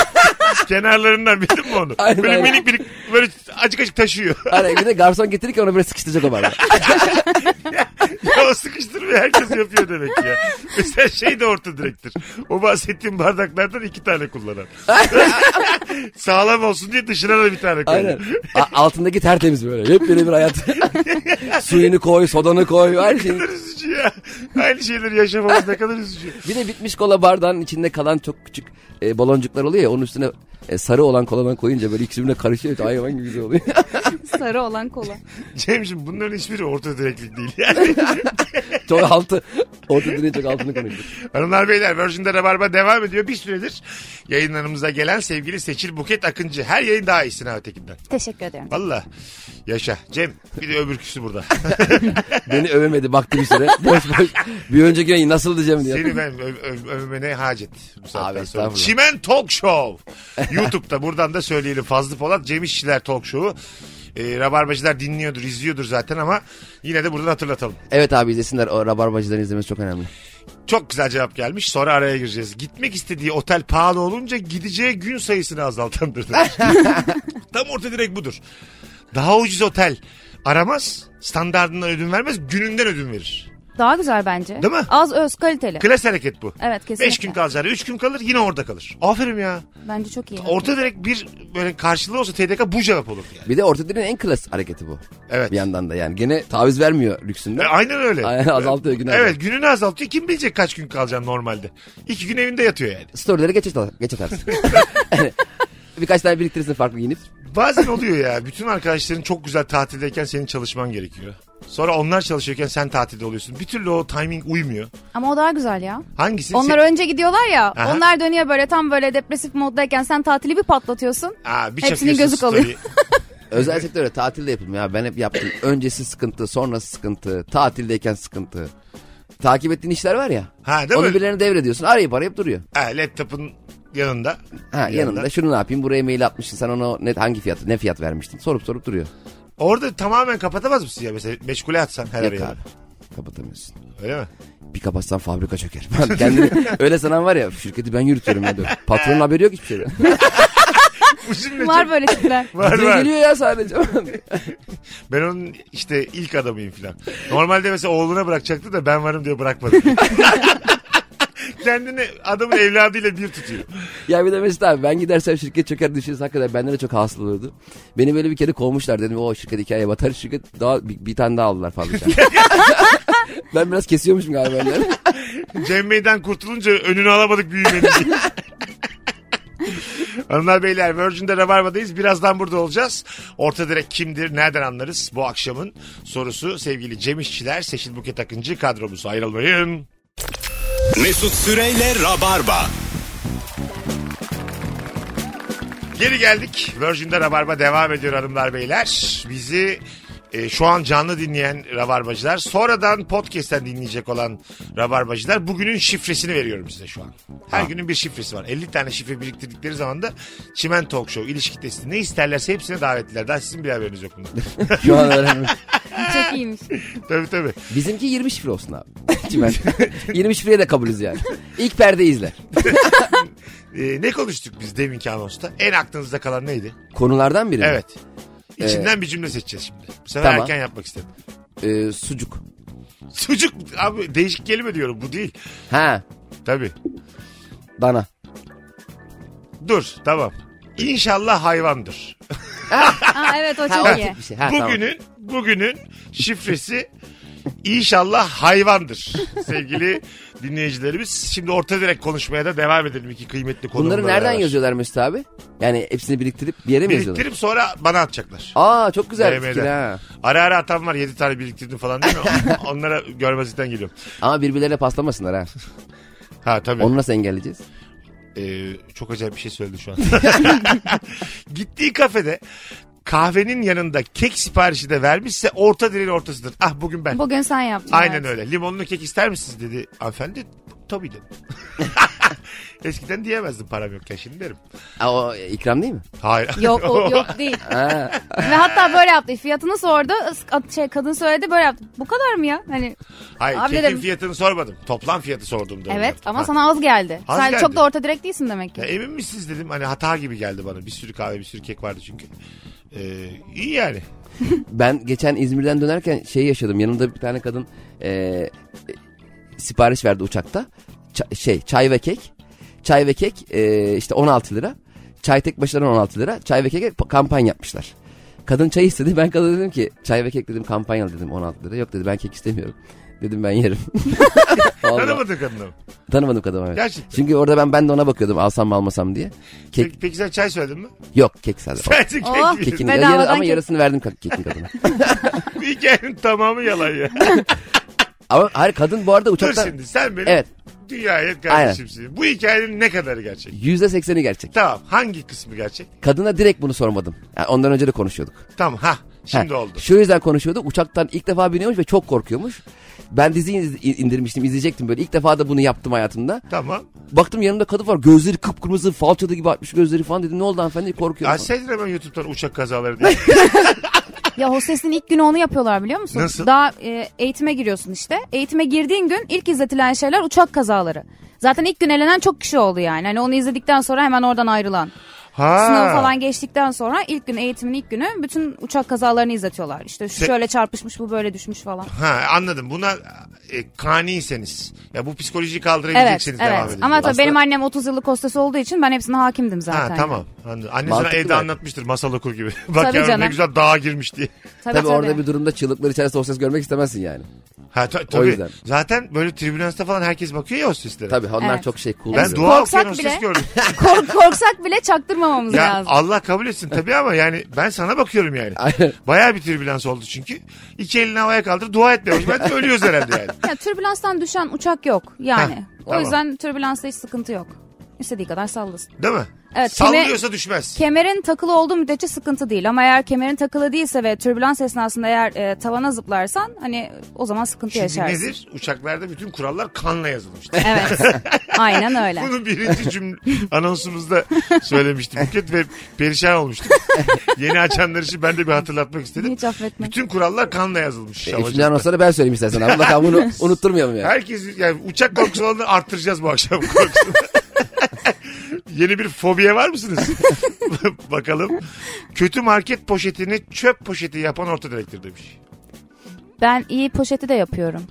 S3: Kenarlarından bildin mi onu?
S5: Aynen,
S3: böyle
S5: aynen.
S3: minik minik böyle açık açık taşıyor.
S5: Hani bir de garson getirir ki ona böyle sıkıştıracak o bardağı.
S3: ya o sıkıştırmayı herkes yapıyor demek ki ya. Mesela şey de orta direktir. O bahsettiğim bardaklardan iki tane kullanan. Sağlam olsun diye dışına da bir tane koyuyor.
S5: Aynen. A- altındaki tertemiz böyle. Hep böyle bir hayat. Suyunu koy, sodanı koy. Her şeyini.
S3: Üzücü ya. Aynı şeyleri yaşamamız ne kadar üzücü.
S5: Bir de bitmiş kola bardağının içinde kalan çok küçük e, baloncuklar oluyor ya onun üstüne e, sarı olan koladan koyunca böyle ikisi birbirine karışıyor. Ay, Hayvan gibi güzel oluyor.
S4: Sarı olan kola.
S3: Cemciğim bunların hiçbiri orta direklik değil. Yani.
S5: çok altı. Orta direğin çok altını konuştuk.
S3: Hanımlar beyler Virgin'de Rabarba devam ediyor. Bir süredir yayınlarımıza gelen sevgili Seçil Buket Akıncı. Her yayın daha iyisin ha ötekinden.
S4: Teşekkür ederim.
S3: Valla yaşa. Cem bir de öbürküsü burada.
S5: Beni övemedi baktı bir süre. Boş boş. Bir önceki yayın nasıl diyeceğim diye.
S3: Seni ben öv, öv, övmene hacet bu saatten
S5: Abi,
S3: sonra.
S5: estağfurullah.
S3: Çimen Talk Show. Youtube'da buradan da söyleyelim. Fazlı Polat, Cem İşçiler Talk Show'u. Ee, Rabarbacılar dinliyordur, izliyordur zaten ama yine de buradan hatırlatalım.
S5: Evet abi izlesinler. O rabarbacıların izlemesi çok önemli.
S3: Çok güzel cevap gelmiş. Sonra araya gireceğiz. Gitmek istediği otel pahalı olunca gideceği gün sayısını azaltandır demiş. Tam orta direk budur. Daha ucuz otel aramaz, standartından ödün vermez, gününden ödün verir.
S4: Daha güzel bence.
S3: Değil mi?
S4: Az öz kaliteli.
S3: Klas hareket bu.
S4: Evet kesinlikle.
S3: 5 gün kalacağını 3 gün kalır yine orada kalır. Aferin ya.
S4: Bence çok iyi.
S3: Orta direkt bir böyle karşılığı olsa TDK bu cevap olur yani.
S5: Bir de orta direğin en klas hareketi bu.
S3: Evet.
S5: Bir yandan da yani. Gene taviz vermiyor lüksünden.
S3: E, Aynen öyle.
S5: Azaltıyor günah.
S3: Evet gününü azaltıyor. Kim bilecek kaç gün kalacaksın normalde. İki gün evinde yatıyor yani.
S5: Storyleri geç, atar- geç atarsın. Yani Birkaç tane biriktirirsin farklı giyinip.
S3: Bazen oluyor ya. Bütün arkadaşların çok güzel tatildeyken senin çalışman gerekiyor. Sonra onlar çalışıyorken sen tatilde oluyorsun. Bir türlü o timing uymuyor.
S4: Ama o daha güzel ya.
S3: Hangisi?
S4: Onlar
S3: Se-
S4: önce gidiyorlar ya.
S3: Aha.
S4: Onlar dönüyor böyle tam böyle depresif moddayken sen tatili bir patlatıyorsun.
S3: Aa, bir
S4: Hepsinin
S3: çakıyorsun
S4: gözü kalıyor.
S3: story'i.
S5: Özel sektörde tatilde yapılmıyor. abi. Ben hep yaptım. Öncesi sıkıntı, sonrası sıkıntı, tatildeyken sıkıntı. Takip ettiğin işler var ya.
S3: Ha, değil
S5: onu
S3: mi?
S5: birilerine devrediyorsun. Arayıp arayıp duruyor.
S3: Ha, laptopun yanında.
S5: Ha, yanında. şunu ne yapayım buraya mail atmışsın sen ona net hangi fiyatı ne fiyat vermiştin sorup sorup duruyor.
S3: Orada tamamen kapatamaz mısın ya? Mesela meşgule atsan her
S5: Yok
S3: araya.
S5: abi kapatamıyorsun.
S3: Öyle mi?
S5: Bir kapatsan fabrika çöker. Ben kendini öyle sanan var ya şirketi ben yürütüyorum ya diyor. Patronun haberi yok hiçbir şeyden.
S3: Bu cümle
S4: Var
S3: çok-
S4: böyle tipler.
S3: Var
S5: Bize
S3: var.
S5: geliyor ya sadece.
S3: Ben onun işte ilk adamıyım filan. Normalde mesela oğluna bırakacaktı da ben varım diye bırakmadı. Kendini adamın evladıyla bir tutuyor.
S5: ya bir de Mesut abi ben gidersem şirket çöker düşüncesi hakikaten benden de çok hasıl olurdu. Beni böyle bir kere kovmuşlar dedim o şirket hikaye batar şirket daha bir, bir tane daha aldılar fabrika. ben biraz kesiyormuşum galiba. Yani.
S3: Cem Bey'den kurtulunca önünü alamadık büyümenin diye. Hanımlar beyler Virgin'de Rabarba'dayız. Birazdan burada olacağız. Orta direk kimdir? Nereden anlarız? Bu akşamın sorusu sevgili Cem İşçiler, Seçil Buket Akıncı kadromuz. Ayrılmayın.
S2: Mesut Süreyle Rabarba.
S3: Geri geldik. Virgin'de Rabarba devam ediyor hanımlar beyler. Bizi e, şu an canlı dinleyen Rabarbacılar, sonradan podcast'ten dinleyecek olan Rabarbacılar bugünün şifresini veriyorum size şu an. Her günün bir şifresi var. 50 tane şifre biriktirdikleri zaman da Çimen Talk Show, ilişki testi ne isterlerse hepsine davetliler. Daha sizin bir haberiniz yok bundan.
S5: Şu an öğrenmiş.
S4: Çok iyiymiş.
S3: tabii tabii.
S5: Bizimki 20 şifre olsun abi. Çimen. 20 şifreye de kabulüz yani. İlk perde izler.
S3: E, ne konuştuk biz deminki anonsta? En aklınızda kalan neydi?
S5: Konulardan biri mi?
S3: Evet. İçinden bir cümle seçeceğiz şimdi. Bu sefer
S5: Tamam.
S3: erken yapmak istedim.
S5: Ee, sucuk.
S3: Sucuk abi değişik kelime diyorum bu değil.
S5: Ha
S3: Tabii.
S5: dana.
S3: Dur tamam. İnşallah hayvandır.
S4: Aa, evet o
S5: Ha, o
S4: çok iyi.
S5: tip bir şey. Ha, tamam.
S3: bugünün bugünün şifresi inşallah hayvandır. Sevgili dinleyicilerimiz. Şimdi orta direkt konuşmaya da devam edelim iki kıymetli konuğumla.
S5: Bunları nereden
S3: beraber.
S5: yazıyorlar Mesut abi? Yani hepsini biriktirip bir yere mi yazıyorlar?
S3: Biriktirip sonra bana atacaklar.
S5: Aa çok güzel
S3: DM'den.
S5: fikir ha.
S3: Ara ara atan var 7 tane biriktirdim falan değil mi? Onlara görmezlikten geliyorum.
S5: Ama birbirlerine paslamasınlar ha.
S3: Ha tabii.
S5: Onu nasıl engelleyeceğiz?
S3: Ee, çok acayip bir şey söyledi şu an. Gittiği kafede kahvenin yanında kek siparişi de vermişse orta direğin ortasıdır. Ah bugün ben.
S4: Bugün sen yaptın.
S3: Aynen
S4: evet.
S3: öyle. Limonlu kek ister misiniz dedi hanımefendi. Tabii dedim. Eskiden diyemezdim param yokken şimdi derim.
S5: Aa, o ikram değil mi?
S3: Hayır.
S4: Yok o, yok değil.
S5: Ha.
S4: Ve hatta böyle yaptı. Fiyatını sordu. Is- Şey, kadın söyledi böyle yaptı. Bu kadar mı ya? Hani
S3: Hayır
S4: Abi
S3: kekin
S4: dedim.
S3: fiyatını sormadım. Toplam fiyatı sordum dedim.
S4: evet
S3: ben.
S4: ama
S3: Ha.
S4: sana az geldi.
S3: Az
S4: sen
S3: geldi.
S4: çok da orta direkt değilsin demek
S3: Ya
S4: ki.
S3: emin misiniz dedim. Hani hata gibi geldi bana. Bir sürü kahve bir sürü kek vardı çünkü. Ee, iyi yani.
S5: Ben geçen İzmir'den dönerken şey yaşadım. Yanımda bir tane kadın e, e, sipariş verdi uçakta. Ça- şey çay ve kek. Çay ve kek e, işte 16 lira. Çay tek başına 16 lira. Çay ve keke pa- kampanya yapmışlar. Kadın çay istedi. Ben kadına dedim ki çay ve kek dedim kampanyalı dedim 16 lira. Yok dedi ben kek istemiyorum. Dedim ben yerim. Vallahi.
S3: Tanımadın kadını mı?
S5: Tanımadım kadını evet.
S3: Gerçekten.
S5: Çünkü orada ben ben de ona bakıyordum alsam mı almasam diye. Kek
S3: Peki, peki sen çay söyledin mi?
S5: yok kek sadece.
S3: Ben de
S4: Oh.
S3: kek yedim.
S5: Kekini,
S4: Bedavadan
S5: yarı- ama
S4: kek.
S5: yarısını verdim ka- kekin kadına.
S3: Hikayenin tamamı yalan ya.
S5: ama hayır kadın bu arada
S3: Dur
S5: uçakta
S3: şimdi sen benim
S5: Evet.
S3: dünyaya kardeşimsin. Bu hikayenin ne kadarı gerçek?
S5: yüzde sekseni gerçek.
S3: Tamam hangi kısmı gerçek?
S5: Kadına direkt bunu sormadım. Yani ondan önce de konuşuyorduk.
S3: Tamam ha şimdi
S5: Ha,
S3: oldu.
S5: Şu yüzden konuşuyorduk. Uçaktan ilk defa biniyormuş ve çok korkuyormuş. Ben diziyi iz- indirmiştim, izleyecektim böyle. İlk defa da bunu yaptım hayatımda.
S3: Tamam.
S5: Baktım yanımda kadın var. Gözleri kıpkırmızı, falçalı gibi atmış gözleri falan dedim. Ne oldu hanımefendi? Korkuyorum.
S3: Ya
S5: falan.
S3: sen hemen YouTube'dan uçak kazaları diye.
S4: Ya hostesin ilk günü onu yapıyorlar biliyor musun?
S3: Nasıl?
S4: Daha e, eğitime giriyorsun işte. Eğitime girdiğin gün ilk izletilen şeyler uçak kazaları. Zaten ilk gün elenen çok kişi oldu yani. Hani onu izledikten sonra hemen oradan ayrılan.
S3: Ha.
S4: Sınavı falan geçtikten sonra ilk gün eğitimin ilk günü bütün uçak kazalarını izletiyorlar. İşte şu
S3: Se-
S4: şöyle çarpışmış bu böyle düşmüş falan.
S3: Ha anladım. Buna e, kaniyseniz. Ya bu psikolojiyi
S4: Evet,
S3: kaldırabileceksiniz devam
S4: evet.
S3: edin.
S4: Ama tabii
S5: Aslında-
S4: benim annem 30 yıllık hostes olduğu için ben hepsine hakimdim
S3: Ha
S4: zaten.
S3: tamam. Anladım. Anne sana
S5: Mantıklı
S3: evde
S5: belki.
S3: anlatmıştır masal okur gibi. Bak
S4: Tabii
S3: yavrum ne
S4: canım.
S3: güzel dağa girmiş diye.
S4: Tabii,
S5: Tabii,
S4: tabii.
S5: orada bir durumda çığlıklar içerisinde o ses görmek istemezsin yani.
S3: Ha ta- tabii.
S5: yüzden.
S3: Zaten böyle tribünasta falan herkes bakıyor ya o seslere.
S5: Tabii onlar
S4: Evet.
S5: çok şey cool.
S3: Ben
S5: oluyor.
S3: dua
S4: Korksak
S3: okuyan o
S4: bile.
S3: ses gördüm.
S4: Kork- korksak bile çaktırmamamız
S3: ya
S4: lazım.
S3: Allah kabul etsin tabii ama yani ben sana bakıyorum yani.
S5: Aynen.
S3: Bayağı bir tribülans oldu çünkü. İki elini havaya kaldır dua etme. O zaman ölüyoruz herhalde yani.
S4: Ya türbülanstan düşen uçak yok yani.
S3: Heh,
S4: o
S3: tamam.
S4: yüzden türbülansta hiç sıkıntı yok. İstediği kadar sallasın.
S3: Değil mi?
S4: Evet,
S3: Sallıyorsa düşmez.
S4: Kemerin takılı olduğu müddetçe sıkıntı değil ama eğer kemerin takılı değilse ve türbülans esnasında eğer e, tavana zıplarsan hani o zaman sıkıntı
S3: Çünkü
S4: yaşarsın.
S3: nedir? Uçaklarda bütün kurallar kanla yazılmıştır.
S4: Evet. Aynen öyle.
S3: Bunu birinci cümle anonsumuzda söylemiştim. Buket ve perişan olmuştuk. Yeni açanlar için ben de bir hatırlatmak istedim.
S4: Hiç affetme.
S3: Bütün kurallar kanla yazılmış.
S5: E,
S3: Şavacı.
S5: Üçüncü anonsları ben söyleyeyim istersen. abi. Mutlaka bunu unutturmayalım yani.
S3: Herkes yani uçak korkusu olanları arttıracağız bu akşam korkusunu. Yeni bir fobiye var mısınız? Bakalım. Kötü market poşetini çöp poşeti yapan orta direktir demiş.
S4: Ben iyi poşeti de yapıyorum.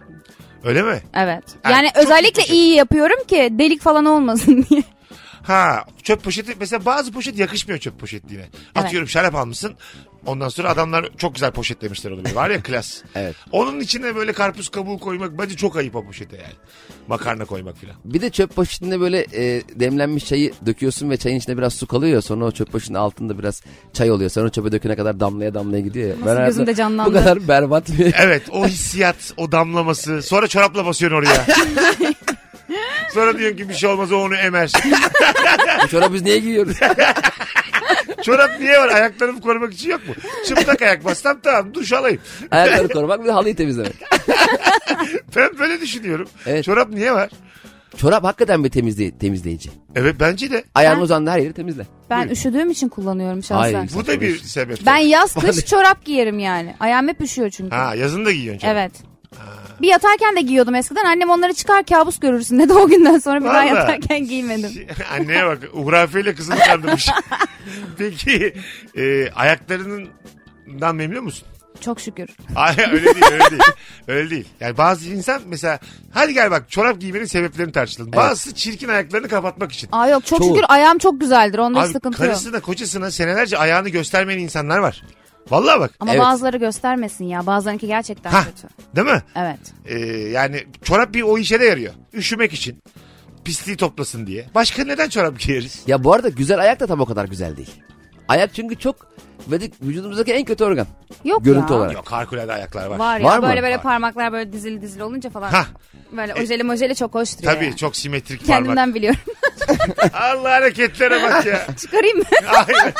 S3: Öyle mi?
S4: Evet.
S3: Yani
S4: Yani
S3: çok
S4: özellikle
S3: iyi
S4: iyi yapıyorum ki delik falan olmasın diye.
S3: Ha çöp poşeti mesela bazı poşet yakışmıyor çöp poşetliğine. Atıyorum şarap almışsın. Ondan sonra adamlar çok güzel poşetlemişler onu. böyle. Var ya klas.
S5: Evet.
S3: Onun içine böyle karpuz kabuğu koymak bence çok ayıp o poşete yani. Makarna koymak filan.
S5: Bir de çöp poşetinde böyle e, demlenmiş çayı döküyorsun ve çayın içinde biraz su kalıyor ya. Sonra o çöp poşetinin altında biraz çay oluyor. Sonra o çöpe döküne kadar damlaya damlaya gidiyor ya.
S4: Nasıl gözümde
S5: hayatımda
S4: canlandı.
S5: Bu kadar berbat bir...
S3: Evet o hissiyat, o damlaması. Sonra çorapla basıyorsun oraya. Sonra diyorsun ki bir şey olmaz o onu emer.
S5: Bu çorabı biz niye giyiyoruz?
S3: Çorap niye var? Ayaklarımı korumak için yok mu? Çıplak ayak bassam tamam duş alayım.
S5: Ayakları korumak bir de halıyı temizlemek.
S3: Ben böyle düşünüyorum.
S5: Evet.
S3: Çorap niye var?
S5: Çorap hakikaten bir temizleyi- temizleyici.
S3: Evet bence de.
S5: Ayağın
S4: Ben-
S5: uzandı her yeri temizle.
S4: Ben üşüdüğüm için kullanıyorum şahsen.
S5: Ay.
S3: Bu da
S5: şey.
S3: bir sebep.
S4: Ben yaz kış
S5: Vallahi.
S4: çorap giyerim yani. Ayağım hep üşüyor çünkü.
S3: Ha yazın da giyiyorsun çorap.
S4: Evet.
S3: e,
S4: Bir yatarken de giyiyordum eskiden. Annem onları çıkar kabus görürsün dedi. O günden sonra bir daha
S3: Vallahi.
S4: yatarken giymedim.
S3: Anneye bak. Uhrafiyle kızını kandırmış. Peki e, ayaklarından memnun musun?
S4: Çok şükür.
S3: Hayır öyle değil öyle değil. Öyle değil. Yani bazı insan mesela hadi gel bak çorap giymenin sebeplerini tartışalım. Bazısı çirkin ayaklarını kapatmak için.
S4: Aa yok çok
S5: Çoğu.
S4: şükür ayağım çok güzeldir. Onda hiç
S3: Abi
S4: sıkıntı yok.
S3: karısına kocasına senelerce ayağını göstermeyen insanlar var. Vallahi bak.
S4: Ama
S5: Evet.
S4: bazıları göstermesin ya. Bazılarınki gerçekten
S3: Ha,
S4: kötü.
S3: değil mi?
S4: Evet.
S3: Ee, yani çorap bir o işe de yarıyor. Üşümek için. Pisliği toplasın diye. Başka neden çorap giyeriz?
S5: Ya bu arada güzel ayak da tam o kadar güzel değil. Ayak çünkü çok ve- vücudumuzdaki en kötü organ.
S4: Yok
S5: Görüntü
S4: ya.
S5: olarak.
S3: Yok harikulade ayaklar var.
S4: Var ya
S5: Var mı?
S4: böyle böyle
S5: Var.
S4: parmaklar böyle dizili dizili olunca falan.
S3: Hah. E,
S4: Böyle ojeli mojeli çok hoş duruyor.
S3: Tabii
S4: yani.
S3: çok simetrik
S4: Kendimden
S3: parmak.
S4: biliyorum.
S3: Allah hareketlere bak ya.
S4: Çıkarayım mı?
S3: Hayır.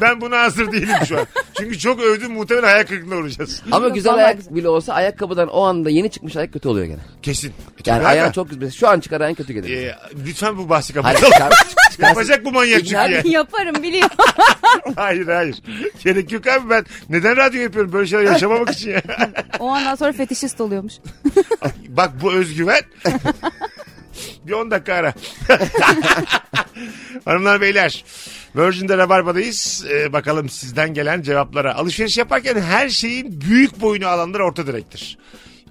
S3: Ben buna hazır değilim şu an. Çünkü çok övdüm muhtemelen hayal kırıklığına uğrayacağız.
S5: Ama
S4: Yok,
S5: güzel
S4: vallahi
S5: ayak
S4: güzel.
S5: bile olsa ayakkabıdan o anda yeni çıkmış ayak kötü oluyor gene.
S3: Kesin. E,
S5: Yani
S3: tabii
S5: ayağın
S3: aga.
S5: çok güzel. Şu an çıkaran en kötü gelir.
S3: Ee, lütfen bu bahsi
S5: Hayır,
S3: kapatalım.
S5: çıkar, çıkarsın.
S3: Yapacak bu manyak çünkü
S5: İgnal-
S3: ya.
S4: Yaparım biliyorum.
S3: Hayır hayır. Gerek yok abi ben neden radyo yapıyorum böyle şeyler yaşamamak için ya.
S4: o andan sonra fetişist oluyormuş.
S3: Bak bu özgüven. Bir 10 dakika ara. Hanımlar beyler. Virgin'de Rabarba'dayız. Ee, bakalım sizden gelen cevaplara. Alışveriş yaparken her şeyin büyük boyunu alanlar orta direktir.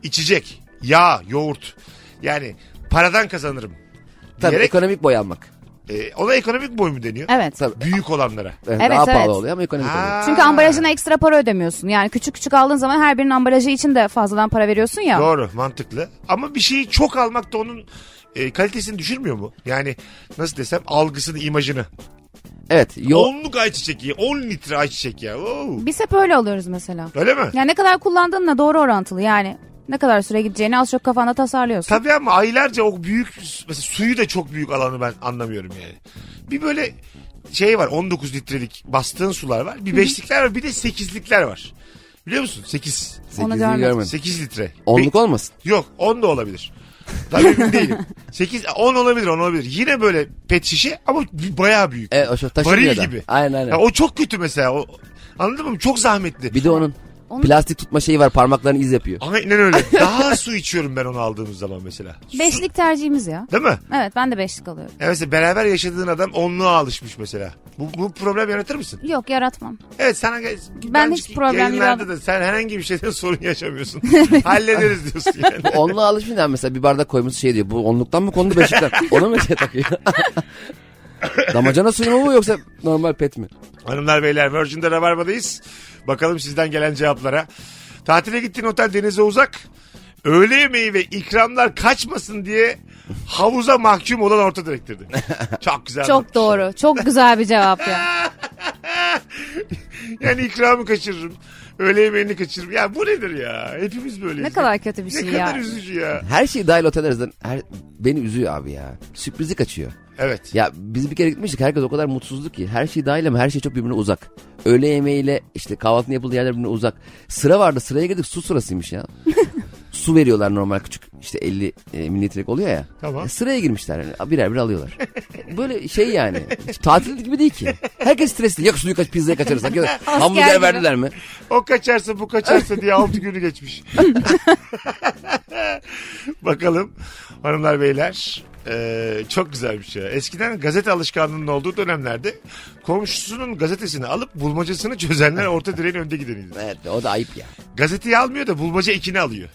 S3: İçecek, yağ, yoğurt. Yani paradan kazanırım.
S5: Tabii
S3: diyerek
S5: ekonomik boy almak.
S3: E, ona ekonomik boy mu deniyor?
S4: Evet.
S5: Tabii.
S3: Büyük olanlara.
S5: Evet,
S4: Evet,
S5: daha
S4: evet.
S5: pahalı oluyor ama ekonomik oluyor.
S3: Ha.
S4: Çünkü ambalajına ekstra para ödemiyorsun. Yani küçük küçük aldığın zaman her birinin ambalajı için de fazladan para veriyorsun ya.
S3: Doğru mantıklı. Ama bir şeyi çok almak da onun e, kalitesini düşürmüyor mu? Yani nasıl desem algısını, imajını.
S5: Evet. Yo,
S3: Onluk ayçiçek ya. 10 litre ayçiçek ya. Oo.
S4: Biz hep öyle alıyoruz mesela.
S3: Öyle mi?
S4: Yani ne kadar kullandığınla doğru orantılı yani. Ne kadar süre gideceğini az çok kafanda tasarlıyorsun.
S3: Tabii ama aylarca o büyük mesela suyu da çok büyük alanı ben anlamıyorum yani. Bir böyle şey var 19 litrelik bastığın sular var. Bir beşlikler var bir de 8'likler var. Biliyor musun? 8.
S4: Onu
S5: Onu
S4: görmedim.
S5: görmedim.
S3: 8 litre.
S5: Onluk olmasın.
S3: Bir- Yok 10 da olabilir. Tabii emin değilim. 8 10 olabilir 10 olabilir. Yine böyle pet şişe ama bayağı büyük.
S5: Evet, E, o şu taşınıyor
S3: Varil
S5: da.
S3: gibi.
S5: Aynen aynen.
S3: Ya o çok kötü mesela. O, anladın mı? Çok zahmetli.
S5: Bir de onun
S4: Onu-
S5: plastik tutma şeyi var parmaklarını iz yapıyor.
S3: Aynen öyle. Daha su içiyorum ben onu aldığımız zaman mesela.
S4: Beşlik tercihimiz ya.
S3: Değil mi?
S4: Evet ben de beşlik alıyorum.
S3: Ya mesela beraber yaşadığın adam onluğa alışmış mesela. Bu, bu problem yaratır mısın?
S4: Yok yaratmam.
S3: Evet sana
S4: Ben hiç problem
S3: yayınlarda
S4: yarattım.
S3: da sen herhangi bir şeyden sorun yaşamıyorsun. Hallederiz diyorsun yani.
S5: Onluğa alışmayan mesela bir bardak koymuş şey diyor. Bu onluktan mı kondu beşikten? Ona mı şey takıyor? Damacana suyu mu bu yoksa normal pet mi?
S3: Hanımlar beyler Virgin'de Rabarba'dayız. Bakalım sizden gelen cevaplara. Tatile gittiğin otel denize uzak. Öğle yemeği ve ikramlar kaçmasın diye havuza mahkum olan orta direktirdi. Çok güzel.
S4: Çok
S3: anlatmış.
S4: doğru. Çok güzel bir cevap ya.
S3: Yani ikramı kaçırırım. Öğle yemeğini kaçırırım. Ya bu nedir ya? Hepimiz böyle.
S4: Ne kadar kötü bir şey
S3: Ne kadar
S4: ya.
S3: üzücü ya.
S5: Her şey dahil otel arasından her, beni üzüyor abi ya. Sürprizi kaçıyor.
S3: Evet.
S5: Ya biz bir kere gitmiştik herkes o kadar mutsuzdu ki. Her şey dahil ama her şey çok birbirine uzak. Öğle yemeğiyle işte kahvaltının yapıldığı yerler birbirine uzak. Sıra vardı sıraya girdik su sırasıymış ya. su veriyorlar normal küçük işte 50 e, mililitrelik oluyor ya.
S3: Tamam.
S5: E, sıraya girmişler yani birer birer alıyorlar. Böyle şey yani hiç tatil gibi değil ki. Herkes stresli. Yok suyu kaç pizzaya kaçırırsak. Yok, hamburger
S4: gibi.
S5: verdiler mi?
S3: O kaçarsa bu kaçarsa diye 6 günü geçmiş. Bakalım hanımlar beyler. Ee, çok güzel bir şey. Eskiden gazete alışkanlığının olduğu dönemlerde komşusunun gazetesini alıp bulmacasını çözenler orta direğin önde gideniydi.
S5: Evet o da ayıp ya.
S3: Gazeteyi almıyor da bulmaca ekini alıyor.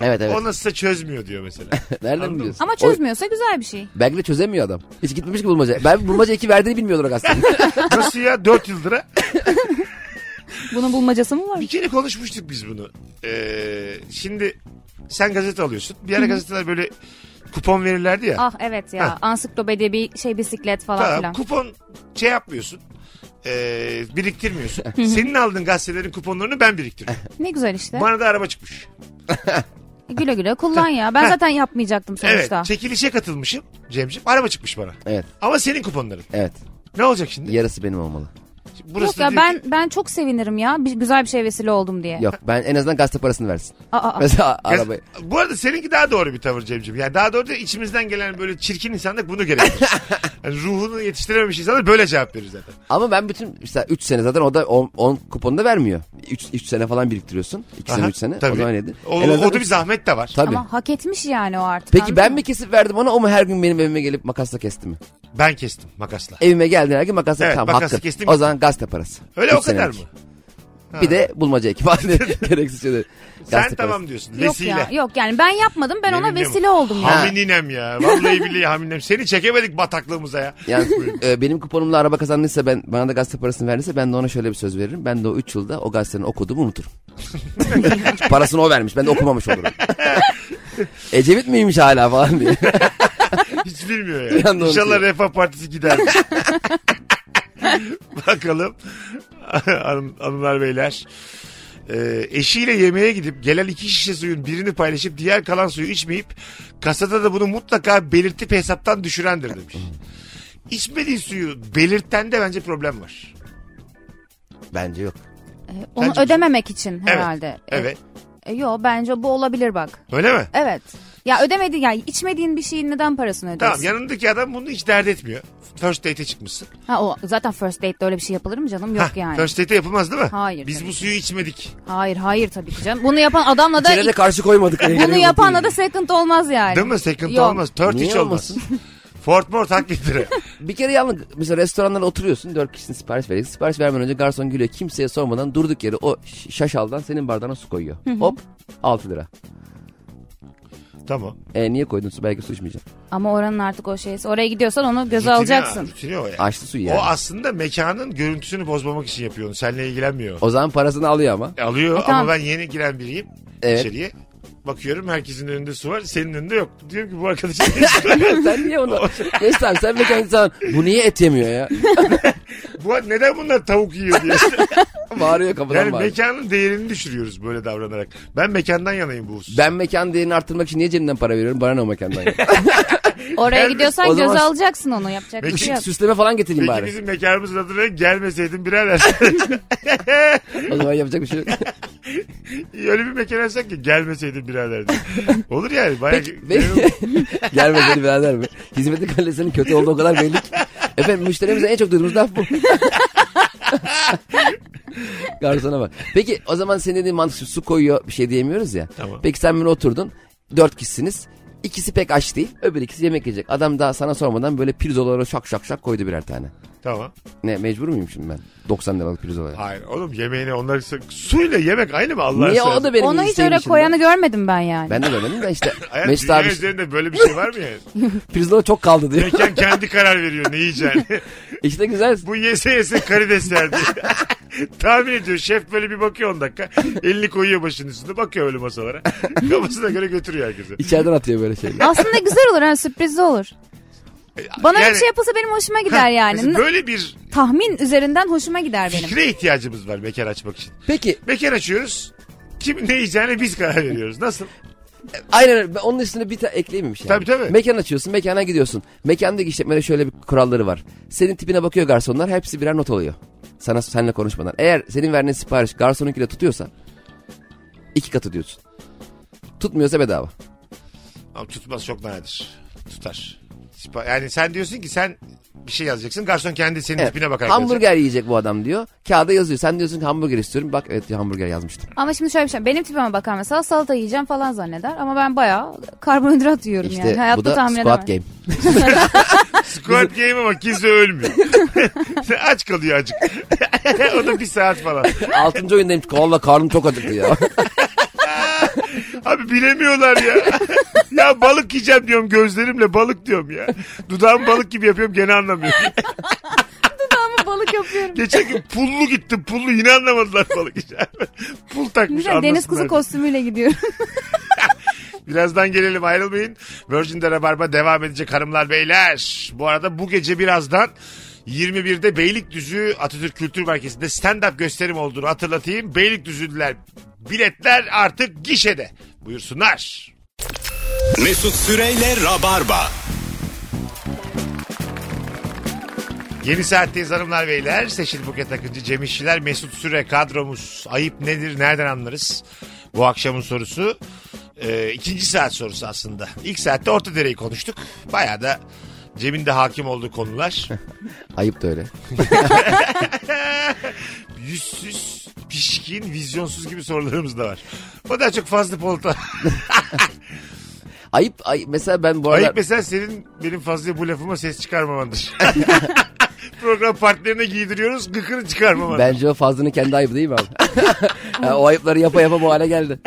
S5: Evet evet.
S3: O nasılsa çözmüyor diyor mesela.
S5: Nereden biliyorsun?
S4: Ama
S5: O-
S4: çözmüyorsa güzel bir şey.
S5: belki de çözemiyor adam. Hiç gitmemiş ki bulmaca. Ben bulmaca iki verdiğini bilmiyordur o aslında.
S3: Nasıl ya 4 yıldıra?
S4: Bunun bulmacası mı var?
S3: Bir kere konuşmuştuk biz bunu. Ee, şimdi sen gazete alıyorsun. Bir ara gazeteler böyle kupon verirlerdi ya.
S4: Ah evet ya.
S3: Ha.
S4: Ansiklopedi bir şey bisiklet falan
S3: Tamam,
S4: filan.
S3: kupon şey yapmıyorsun. Ee, biriktirmiyorsun. Senin aldığın gazetelerin kuponlarını ben biriktiriyorum.
S4: Ne güzel işte.
S3: Bana da araba çıkmış.
S4: Güle güle kullan ya. Ben zaten yapmayacaktım
S3: Evet.
S4: sonuçta.
S3: Çekilişe katılmışım Cemciğim. Araba çıkmış bana.
S5: evet
S3: Ama senin kuponların.
S5: evet.
S3: Ne olacak şimdi?
S5: Yarısı benim olmalı.
S3: Burası
S4: Yok
S3: da
S4: ya
S3: diyor
S4: ben ben çok sevinirim ya. Bir, güzel bir şey vesile oldum diye.
S5: Yok ben en azından gazete parasını versin.
S4: Aa,
S3: Ah.
S4: aa, aa.
S5: Mesela
S3: ki-
S5: arabayı.
S3: Bu arada seninki daha doğru bir tavır Cemciğim. Yani daha doğru değil, içimizden gelen böyle çirkin insanlık bunu gerektirir. yani ruhunu yetiştirememiş insanlar böyle cevap verir zaten.
S5: Ama ben bütün mesela 3 sene zaten o da 10 kuponu da vermiyor. 3 sene falan biriktiriyorsun. 2 sene
S3: Aha,
S5: 3 sene. O
S3: tabii.
S5: zaman neydi?
S3: O,
S5: En azından
S3: o da bir
S5: üç-
S3: zahmet de var.
S5: Tabii.
S4: Ama hak etmiş yani o artık.
S5: Peki
S4: anladın
S5: ben
S4: mı?
S5: mi kesip verdim ona o mu her gün benim evime gelip makasla kesti mi?
S3: Ben kestim makasla.
S5: Evime geldiğin her gün makasla
S3: Evet,
S5: tam
S3: makasla
S5: hakkın.
S3: kestim.
S5: O zaman gazete parası.
S3: Öyle
S5: Üç
S3: o kadar
S5: senelik.
S3: mı?
S5: Bir de bulmaca ekibi. Gereksiz şeyler.
S3: Sen
S5: Gazete
S3: tamam
S5: parası.
S3: diyorsun.
S4: Yok
S3: vesile.
S4: ya. Yok yani ben yapmadım. Ben ona
S3: Yeminle mi?
S4: vesile oldum ya.
S3: Hamininem ya. Vallahi billahi haminem. Seni çekemedik bataklığımıza ya.
S5: Yani e, benim kuponumla araba kazandıysa ben bana da gazete parasını verdiyse ben de ona şöyle bir söz veririm. Ben de o 3 yılda o gazetenin okuduğumu unuturum. parasını o vermiş ben de okumamış olurum. Ecevit miymiş hala falan diye.
S3: Hiç bilmiyor
S5: Bir
S3: ya.
S5: anda
S3: İnşallah
S5: unutuyor.
S3: Refah Partisi gider. Bakalım. Hanım, hanımlar beyler. Ee, eşiyle yemeğe gidip gelen iki şişe suyun birini paylaşıp diğer kalan suyu içmeyip kasada da bunu mutlaka belirtip hesaptan düşürendir demiş. İçmediği suyu belirten de bence problem var.
S5: Bence yok.
S4: E, Onu
S3: Sence-
S4: ödememek için herhalde. E,
S3: Evet.
S4: e, Yo bence bu olabilir bak.
S3: Öyle mi?
S4: Evet. Ya ödemediğin yani içmediğin bir şeyin neden parasını
S3: Tamam
S4: ödüyorsun?
S3: yanındaki adam bunu hiç dert etmiyor. First date'e çıkmışsın.
S4: Ha o zaten first date'de öyle bir şey yapılır mı canım? Yok
S3: Hah,
S4: yani.
S3: First date'e yapılmaz değil mi?
S4: Hayır,
S3: Biz
S4: tabii
S3: bu
S4: ki.
S3: suyu içmedik.
S4: Hayır hayır tabii ki canım. Bunu yapan adamla da
S5: Çene de karşı koymadık.
S4: bunu yapanla da second olmaz yani.
S3: Değil mi? Second
S4: Hani Yok.
S3: olmaz. Third
S5: Niye
S3: hiç olmaz.
S5: olmasın?
S3: Fort Mort hak bildiri.
S5: Bir kere yalnız mesela restoranlara oturuyorsun. Dört kişinin sipariş verecek. Sipariş vermeden önce garson gülüyor. Kimseye sormadan durduk yere o ş- şaşaldan senin bardağına su koyuyor. Hop 6 lira.
S3: Tamam.
S5: E niye koydun su? Belki su içmeyeceğim.
S4: Ama oranın artık o şeysi. Oraya gidiyorsan onu göze
S3: Rutini-
S4: alacaksın.
S3: Rutini o yani.
S5: Açlı suyu yani.
S3: O aslında mekanın görüntüsünü bozmamak için yapıyor onu. Seninle ilgilenmiyor. E,
S5: O zaman parasını alıyor ama.
S3: Alıyor ama
S4: E, tamam.
S3: ben yeni giren biriyim
S5: Evet.
S3: içeriye. Bakıyorum herkesin önünde su var. Senin önünde yok. Diyorum ki bu arkadaşın ne işi var?
S5: sen niye onu? Mesut abi sen mekan insan bu niye et yemiyor ya?
S3: bu, neden bunlar tavuk yiyor diye.
S5: Bağırıyor kapıdan
S3: Yani
S5: bağırıyor.
S3: mekanın değerini düşürüyoruz böyle davranarak. Ben mekandan yanayım bu hususta.
S5: Ben mekan değerini arttırmak için niye cebimden para veriyorum? Bana ne o mekandan ya?
S4: Oraya
S3: Gelmez.
S4: gidiyorsan
S5: O
S4: göze
S5: zaman-
S4: alacaksın onu. Yapacak bir şey
S5: Işık
S4: yok.
S5: süsleme falan getireyim
S3: Peki
S5: bari.
S3: bizim mekanımızın adına gelmeseydin birader.
S5: O zaman yapacak bir şey yok.
S3: Öyle bir mekan açsak ki gelmeseydin birader diye. Olur yani. Bayağı
S5: Peki, ve... Gelmedi birader mi? Hizmetin kalitesinin kötü olduğu o kadar belli ki. Efendim müşterimize en çok duyduğumuz laf bu. Garsona bak. Peki o zaman senin dediğin mantık şu, su koyuyor bir şey diyemiyoruz ya.
S3: Tamam.
S5: Peki sen böyle oturdun. Dört kişisiniz. İkisi pek aç değil. Öbür ikisi yemek yiyecek. Adam daha sana sormadan böyle pirzolara şak şak şak koydu birer tane.
S3: Tamam.
S5: Ne mecbur muyum şimdi ben? 90 liralık pirzolara.
S3: Hayır oğlum yemeğine onlar suyla yemek aynı mı Allah'ın
S5: Niye
S3: seversen?
S5: o da benim
S4: Onu hiç
S5: isteğim
S4: öyle
S5: dışında?
S4: koyanı görmedim ben yani.
S5: Ben de görmedim de işte
S3: Hayat
S5: Mesut
S3: dünya
S5: abi
S3: üzerinde böyle bir şey var mı yani?
S5: pirzola çok kaldı diyor.
S3: Mekan kendi karar veriyor ne yiyeceğini.
S5: işte güzel.
S3: Bu yese yese karides yerdi. Tahmin ediyor şef böyle bir bakıyor 10 dakika. Elini koyuyor başının üstüne bakıyor öyle masalara. Kafasına göre götürüyor herkese.
S5: İçeriden atıyor böyle şeyler.
S4: Aslında güzel olur ha sürprizli olur. Bana
S3: E, Yani-
S4: bir şey yapılsa benim hoşuma gider yani.
S3: Mesela böyle bir
S4: Tahmin üzerinden hoşuma gider benim.
S3: fikre ihtiyacımız var mekan açmak için.
S5: Peki
S3: Mekan açıyoruz. Kim ne yiyeceğini biz karar veriyoruz. Nasıl?
S5: aynen öyle. Ben Onun üstüne bir ta ekleyemeymiş yani.
S3: Tabii, tabii.
S5: Mekan açıyorsun mekana gidiyorsun. Mekandaki işletmede şöyle bir kuralları var. Senin tipine bakıyor garsonlar hepsi birer not alıyor. Sana seninle konuşmadan. Eğer senin verdiğin sipariş garsonunkiyle tutuyorsa iki katı diyorsun. Tutmuyorsa bedava.
S3: Ama tutmaz çok nadir. Tutar. Sipa- Yani sen diyorsun ki sen bir şey yazacaksın. Garson kendi senin
S5: Evet.
S3: tipine bakarak
S5: Hamburger
S3: yazacak.
S5: yiyecek bu adam diyor. Kağıda yazıyor. Sen diyorsun ki hamburger istiyorum. Bak evet diyor, hamburger yazmıştım.
S4: Ama şimdi şöyle bir şey. Benim tipime bakar mesela salata yiyeceğim falan zanneder. Ama ben bayağı karbonhidrat yiyorum
S5: İşte
S4: yani. Hayatta
S5: bu da
S4: tahmin
S5: squat
S4: edemem.
S5: game.
S3: Squat game ama kimse ölmüyor. Sen aç kalıyor acık. o da bir saat falan.
S5: Altıncı oyundayım. Valla karnım çok acıktı ya.
S3: Abi bilemiyorlar ya. ya balık yiyeceğim diyorum gözlerimle balık diyorum ya. Dudağım balık gibi yapıyorum gene anlamıyorum.
S4: Ama balık yapıyorum.
S3: Geçen gün pullu gittim pullu yine anlamadılar balık yiyeceğim. Pul takmış
S4: Güzel deniz kuzu
S3: anlasınlar.
S4: kostümüyle gidiyorum.
S3: Birazdan gelelim ayrılmayın. Virgin'de Rabarba devam edecek hanımlar beyler. Bu arada bu gece birazdan 21'de Beylikdüzü Atatürk Kültür Merkezi'nde stand-up gösterim olduğunu hatırlatayım. Beylikdüzü'lüler biletler artık gişede. Buyursunlar.
S2: Mesut Süreyle Rabarba.
S3: Yeni saatteyiz hanımlar beyler. Seçil Buket Akıncı, Cem İşçiler, Mesut Süre kadromuz. Ayıp nedir, nereden anlarız? Bu akşamın sorusu. Ee, ikinci saat sorusu aslında. İlk saatte Orta Dere'yi konuştuk. Bayağı da Cem'in de hakim olduğu konular.
S5: Ayıp da öyle.
S3: Yüzsüz, pişkin, vizyonsuz gibi sorularımız da var. O da çok fazla Polat'a.
S5: Ayıp, ayıp. Mesela ben bu arada...
S3: Ayıp mesela senin benim fazla bu lafıma ses çıkarmamandır. Program partnerine giydiriyoruz, gıkını çıkarmamandır.
S5: Bence o fazlının kendi ayıbı değil mi abi? Yani o ayıpları yapa yapa bu hale geldi.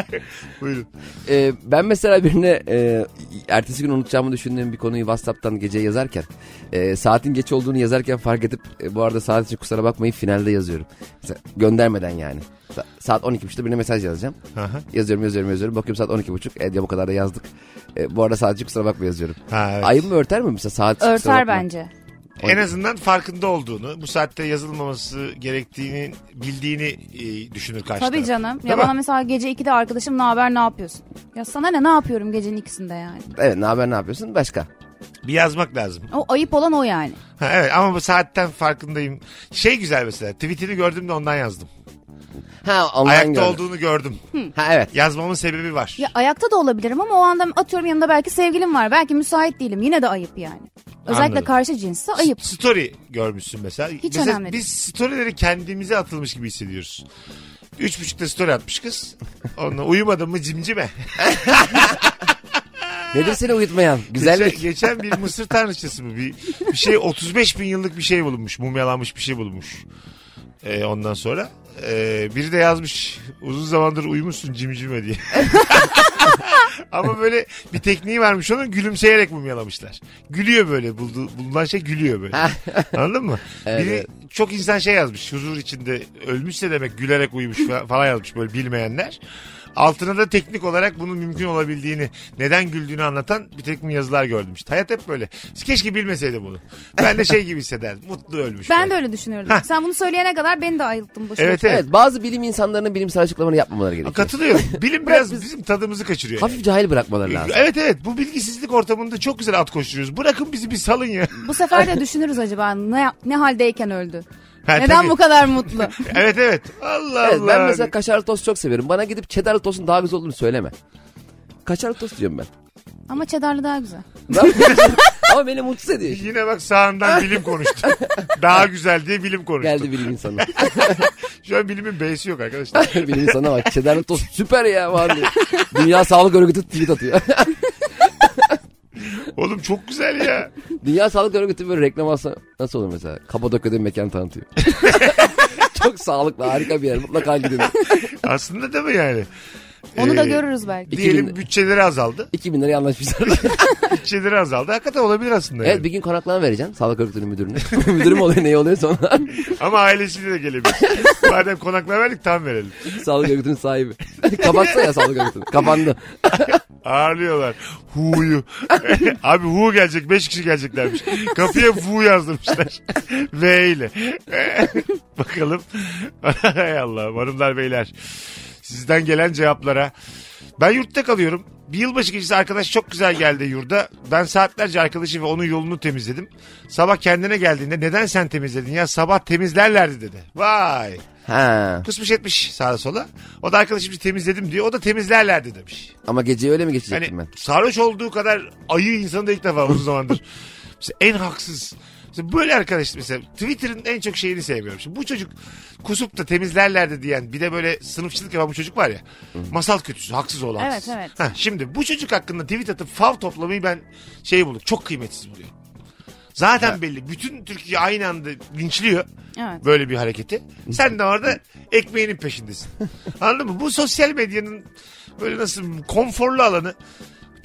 S3: Buyurun.
S5: Ee, ben mesela birine e, ertesi gün unutacağımı düşündüğüm bir konuyu Whatsapp'tan gece yazarken e, saatin geç olduğunu yazarken fark edip e, bu arada saat için kusura bakmayın finalde yazıyorum. Mesela göndermeden yani. Sa- saat 12.30'da birine mesaj yazacağım.
S3: Aha.
S5: Yazıyorum yazıyorum yazıyorum. Bakıyorum saat 12.30. Evet ya bu kadar da yazdık. E, bu arada saat için kusura bakma yazıyorum.
S3: Ha, evet.
S5: Ayıp mı örter mi mesela saat için kusura
S4: Örter
S5: bakma?
S4: bence.
S3: En azından farkında olduğunu, bu saatte yazılmaması gerektiğini bildiğini e, düşünür karşı
S4: Tabii
S3: taraf.
S4: canım.
S3: Değil
S4: Ya
S3: mi?
S4: bana mesela gece 2'de arkadaşım ne haber ne yapıyorsun? Ya sana ne ne yapıyorum gecenin ikisinde yani.
S5: Evet ne haber ne yapıyorsun başka.
S3: Bir yazmak lazım.
S4: O ayıp olan o yani.
S3: Ha, evet ama bu saatten farkındayım. Şey güzel mesela tweetini gördüm de ondan yazdım.
S5: Ha online
S3: Ayakta
S5: gördüm.
S3: olduğunu gördüm.
S5: Ha evet.
S3: Yazmamın sebebi var.
S4: Ya ayakta da olabilirim ama o anda atıyorum yanında belki sevgilim var. Belki müsait değilim. Yine de ayıp yani. Özellikle
S3: Anladım.
S4: karşı cinsse ayıp.
S3: Story görmüşsün mesela.
S4: Hiç
S3: mesela
S4: önemli değil.
S3: Biz storyleri kendimize atılmış gibi hissediyoruz. Üç buçukta story atmış kız. Onunla uyumadın mı cimcime.
S5: Nedir seni uyutmayan? Güzellik.
S3: Geçen, geçen bir Mısır tanrıçası mı? Bir, bir şey 35 bin yıllık bir şey bulunmuş. Mumyalanmış bir şey bulunmuş. Ee, ondan sonra Ee, biri de yazmış uzun zamandır uyumuşsun cimcime diye. Ama böyle bir tekniği varmış onun gülümseyerek mumyalamışlar. Gülüyor böyle buldu, bulunan şey gülüyor böyle. Anladın mı? Biri çok insan şey yazmış huzur içinde ölmüşse demek gülerek uyumuş fa- falan yazmış böyle bilmeyenler. Altına da teknik olarak bunun mümkün olabildiğini, neden güldüğünü anlatan bir takım yazılar gördüm. İşte hayat hep böyle. Keşke bilmeseydim bunu. Ben de şey gibi hissederdim. Mutlu ölmüş.
S4: Ben
S3: falan.
S4: de öyle düşünüyordum. Sen bunu söyleyene kadar beni de ayılttın boşuna.
S3: Evet evet.
S5: Evet bazı bilim insanlarının bilimsel açıklamaları yapmamaları
S3: Ha,
S5: gerekiyor.
S3: Katılıyorum. Bilim biraz bizim tadımızı kaçırıyor.
S5: Hafif cahil bırakmaları lazım.
S3: Evet evet bu bilgisizlik ortamında çok güzel at koşturuyoruz. Bırakın bizi bir salın ya.
S4: Bu sefer de düşünürüz acaba ne, ne haldeyken öldü.
S3: Ha,
S4: Neden
S3: tabii.
S4: bu kadar mutlu?
S3: Evet evet. Allah
S5: Evet,
S3: Allah.
S5: ben mesela kaşarlı tost çok severim. Bana gidip çedarlı tostun daha güzel olduğunu söyleme. Kaşarlı tost diyorum ben.
S4: Ama çedarlı daha güzel.
S5: Ben- Ama beni mutsuz ediyor.
S3: Yine bak sağından bilim konuştu. Daha güzel diye bilim konuştu.
S5: Geldi bilim insanı.
S3: Şu an bilimin B'si yok arkadaşlar.
S5: bilim insanı bak çedarlı tost süper ya var diyor. Dünya Sağlık Örgütü tweet atıyor.
S3: Oğlum çok güzel ya.
S5: Dünya Sağlık Örgütü böyle reklam alsa nasıl olur mesela? Kapadokya'da bir mekan tanıtıyor. çok sağlıklı harika bir yer mutlaka gidin.
S3: Aslında değil mi yani?
S4: Onu da
S3: Ee,
S4: görürüz belki.
S3: Diyelim
S5: 2000
S3: bütçeleri azaldı.
S5: 2000 liraya anlaşmışlar.
S3: Bütçeleri azaldı. Hakikaten olabilir aslında.
S5: evet
S3: yani.
S5: bir gün konaklan vereceksin Sağlık Örgütü'nün müdürüne. Müdürü mü oluyor ne oluyor sonra?
S3: Ama ailesiyle de gelebilir. Madem konaklar verdik tam verelim.
S5: Sağlık Örgütü'nün sahibi. Kapatsa ya Sağlık Örgütü'nü. Kapandı.
S3: Ağırlıyorlar. Hu'yu. Abi Hu gelecek. Beş kişi geleceklermiş. Kapıya Hu yazdırmışlar. v ile. Bakalım. Hay Allah. Hanımlar beyler. Sizden gelen cevaplara. Ben yurtta kalıyorum. Bir yılbaşı gecesi arkadaş çok güzel geldi yurda. Ben saatlerce arkadaşı ve onun yolunu temizledim. Sabah kendine geldiğinde neden sen temizledin ya sabah temizlerlerdi dedi. Vay.
S5: Ha.
S3: Kusmuş etmiş sağa sola. O da arkadaşım temizledim diyor. O da temizlerlerdi demiş.
S5: Ama geceyi öyle mi
S3: Yani
S5: geçirecektim ben?
S3: Hani sarhoş olduğu kadar ayı insanı da ilk defa uzun zamandır. Mesela en haksız. Mesela böyle arkadaş mesela Twitter'ın en çok şeyini sevmiyorum. Şimdi bu çocuk kusup da temizlerlerdi diyen bir de böyle sınıfçılık yapan bu çocuk var ya. Masal kötüsü haksız olan.
S4: Evet,
S3: haksız.
S4: evet.
S3: Ha, şimdi bu çocuk hakkında tweet atıp fav toplamayı ben şey buldum çok kıymetsiz buluyorum. Zaten belli. Bütün Türkiye aynı anda linçliyor
S4: Evet.
S3: böyle bir hareketi. Sen de orada ekmeğinin peşindesin. Anladın mı? Bu sosyal medyanın böyle nasıl konforlu alanı.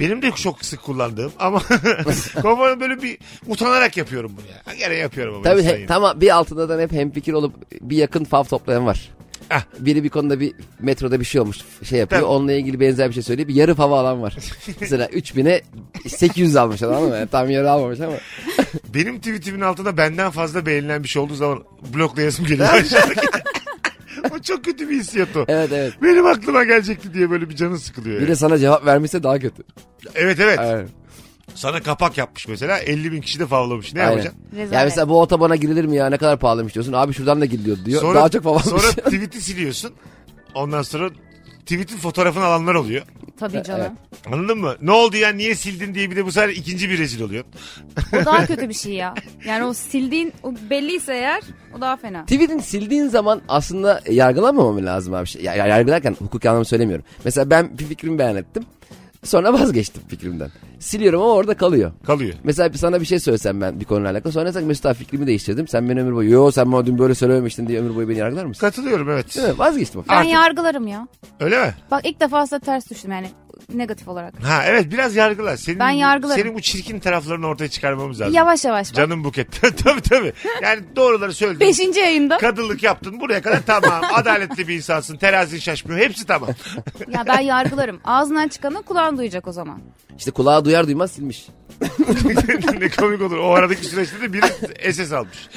S3: Benim de çok sık kullandığım ama konforlu böyle bir utanarak yapıyorum bunu ya. Gene yapıyorum ama.
S5: Tabii
S3: insan
S5: he,
S3: yine.
S5: tamam bir altında da hep hemfikir olup bir yakın fav toplayan var.
S3: Ah.
S5: Biri bir konuda bir metroda bir şey olmuş şey yapıyor.
S3: Tabii.
S5: Onunla ilgili benzer bir şey söylüyor. Bir yarı fav alan var. Mesela 3000'e 800 almış adam ama yani tam yarı almamış ama.
S3: Benim tweetimin altında benden fazla beğenilen bir şey olduğu zaman bloklayasım geliyor. o çok kötü bir hissiyat o.
S5: Evet evet.
S3: Benim aklıma gelecekti diye böyle bir canın sıkılıyor.
S5: Bir
S3: yani.
S5: de sana cevap vermişse daha kötü.
S3: Evet evet.
S5: Aynen.
S3: Sana kapak yapmış mesela. 50 bin kişi de favlamış. Ne
S5: Aynen.
S3: yapacaksın?
S4: Rezalet.
S5: Ya mesela bu otobana girilir mi ya ne kadar pahalıymış diyorsun. Abi şuradan da giriliyor diyor. daha çok fav almış.
S3: Sonra tweet'i siliyorsun. Ondan sonra tweet'in fotoğrafını alanlar oluyor.
S4: Tabii canım.
S3: Anladın mı? Ne oldu ya niye sildin diye bir de bu sefer ikinci bir rezil oluyor.
S4: O daha kötü bir şey ya. Yani o sildiğin o belliyse eğer o daha fena.
S5: Tweet'in sildiğin zaman aslında yargılamamam lazım abi. Şey, Ya, ya- yargılarken hukuki anlamı söylemiyorum. Mesela ben bir fikrimi beyan ettim. Sonra vazgeçtim fikrimden. Siliyorum ama orada kalıyor.
S3: Kalıyor.
S5: Mesela bir- sana bir şey söylesem ben bir konuyla alakalı. Sonra sen Mesut abi fikrimi değiştirdim. Sen beni ömür boyu yo sen bana dün böyle söylememiştin diye ömür boyu beni yargılar mısın?
S3: Katılıyorum evet.
S5: Değil mi? Vazgeçtim. o
S4: Ben
S3: Artık-
S4: yargılarım ya.
S3: Öyle mi?
S4: Bak ilk defa aslında ters düştüm yani negatif olarak.
S3: Ha evet biraz yargıla. Senin,
S4: Ben yargılarım.
S3: Senin bu çirkin taraflarını ortaya çıkarmamız lazım.
S4: Yavaş yavaş bak.
S3: Canım buket. tabii tabii. Yani doğruları söyledin.
S4: Beşinci yayında.
S3: Kadınlık yaptın buraya kadar tamam. Adaletli bir insansın. Terazin şaşmıyor. Hepsi tamam.
S4: ya ben yargılarım. Ağzından çıkanı kulağın duyacak o zaman.
S5: İşte kulağı duyar duymaz silmiş.
S3: ne komik olur. O aradaki süreçte de biri SS almış.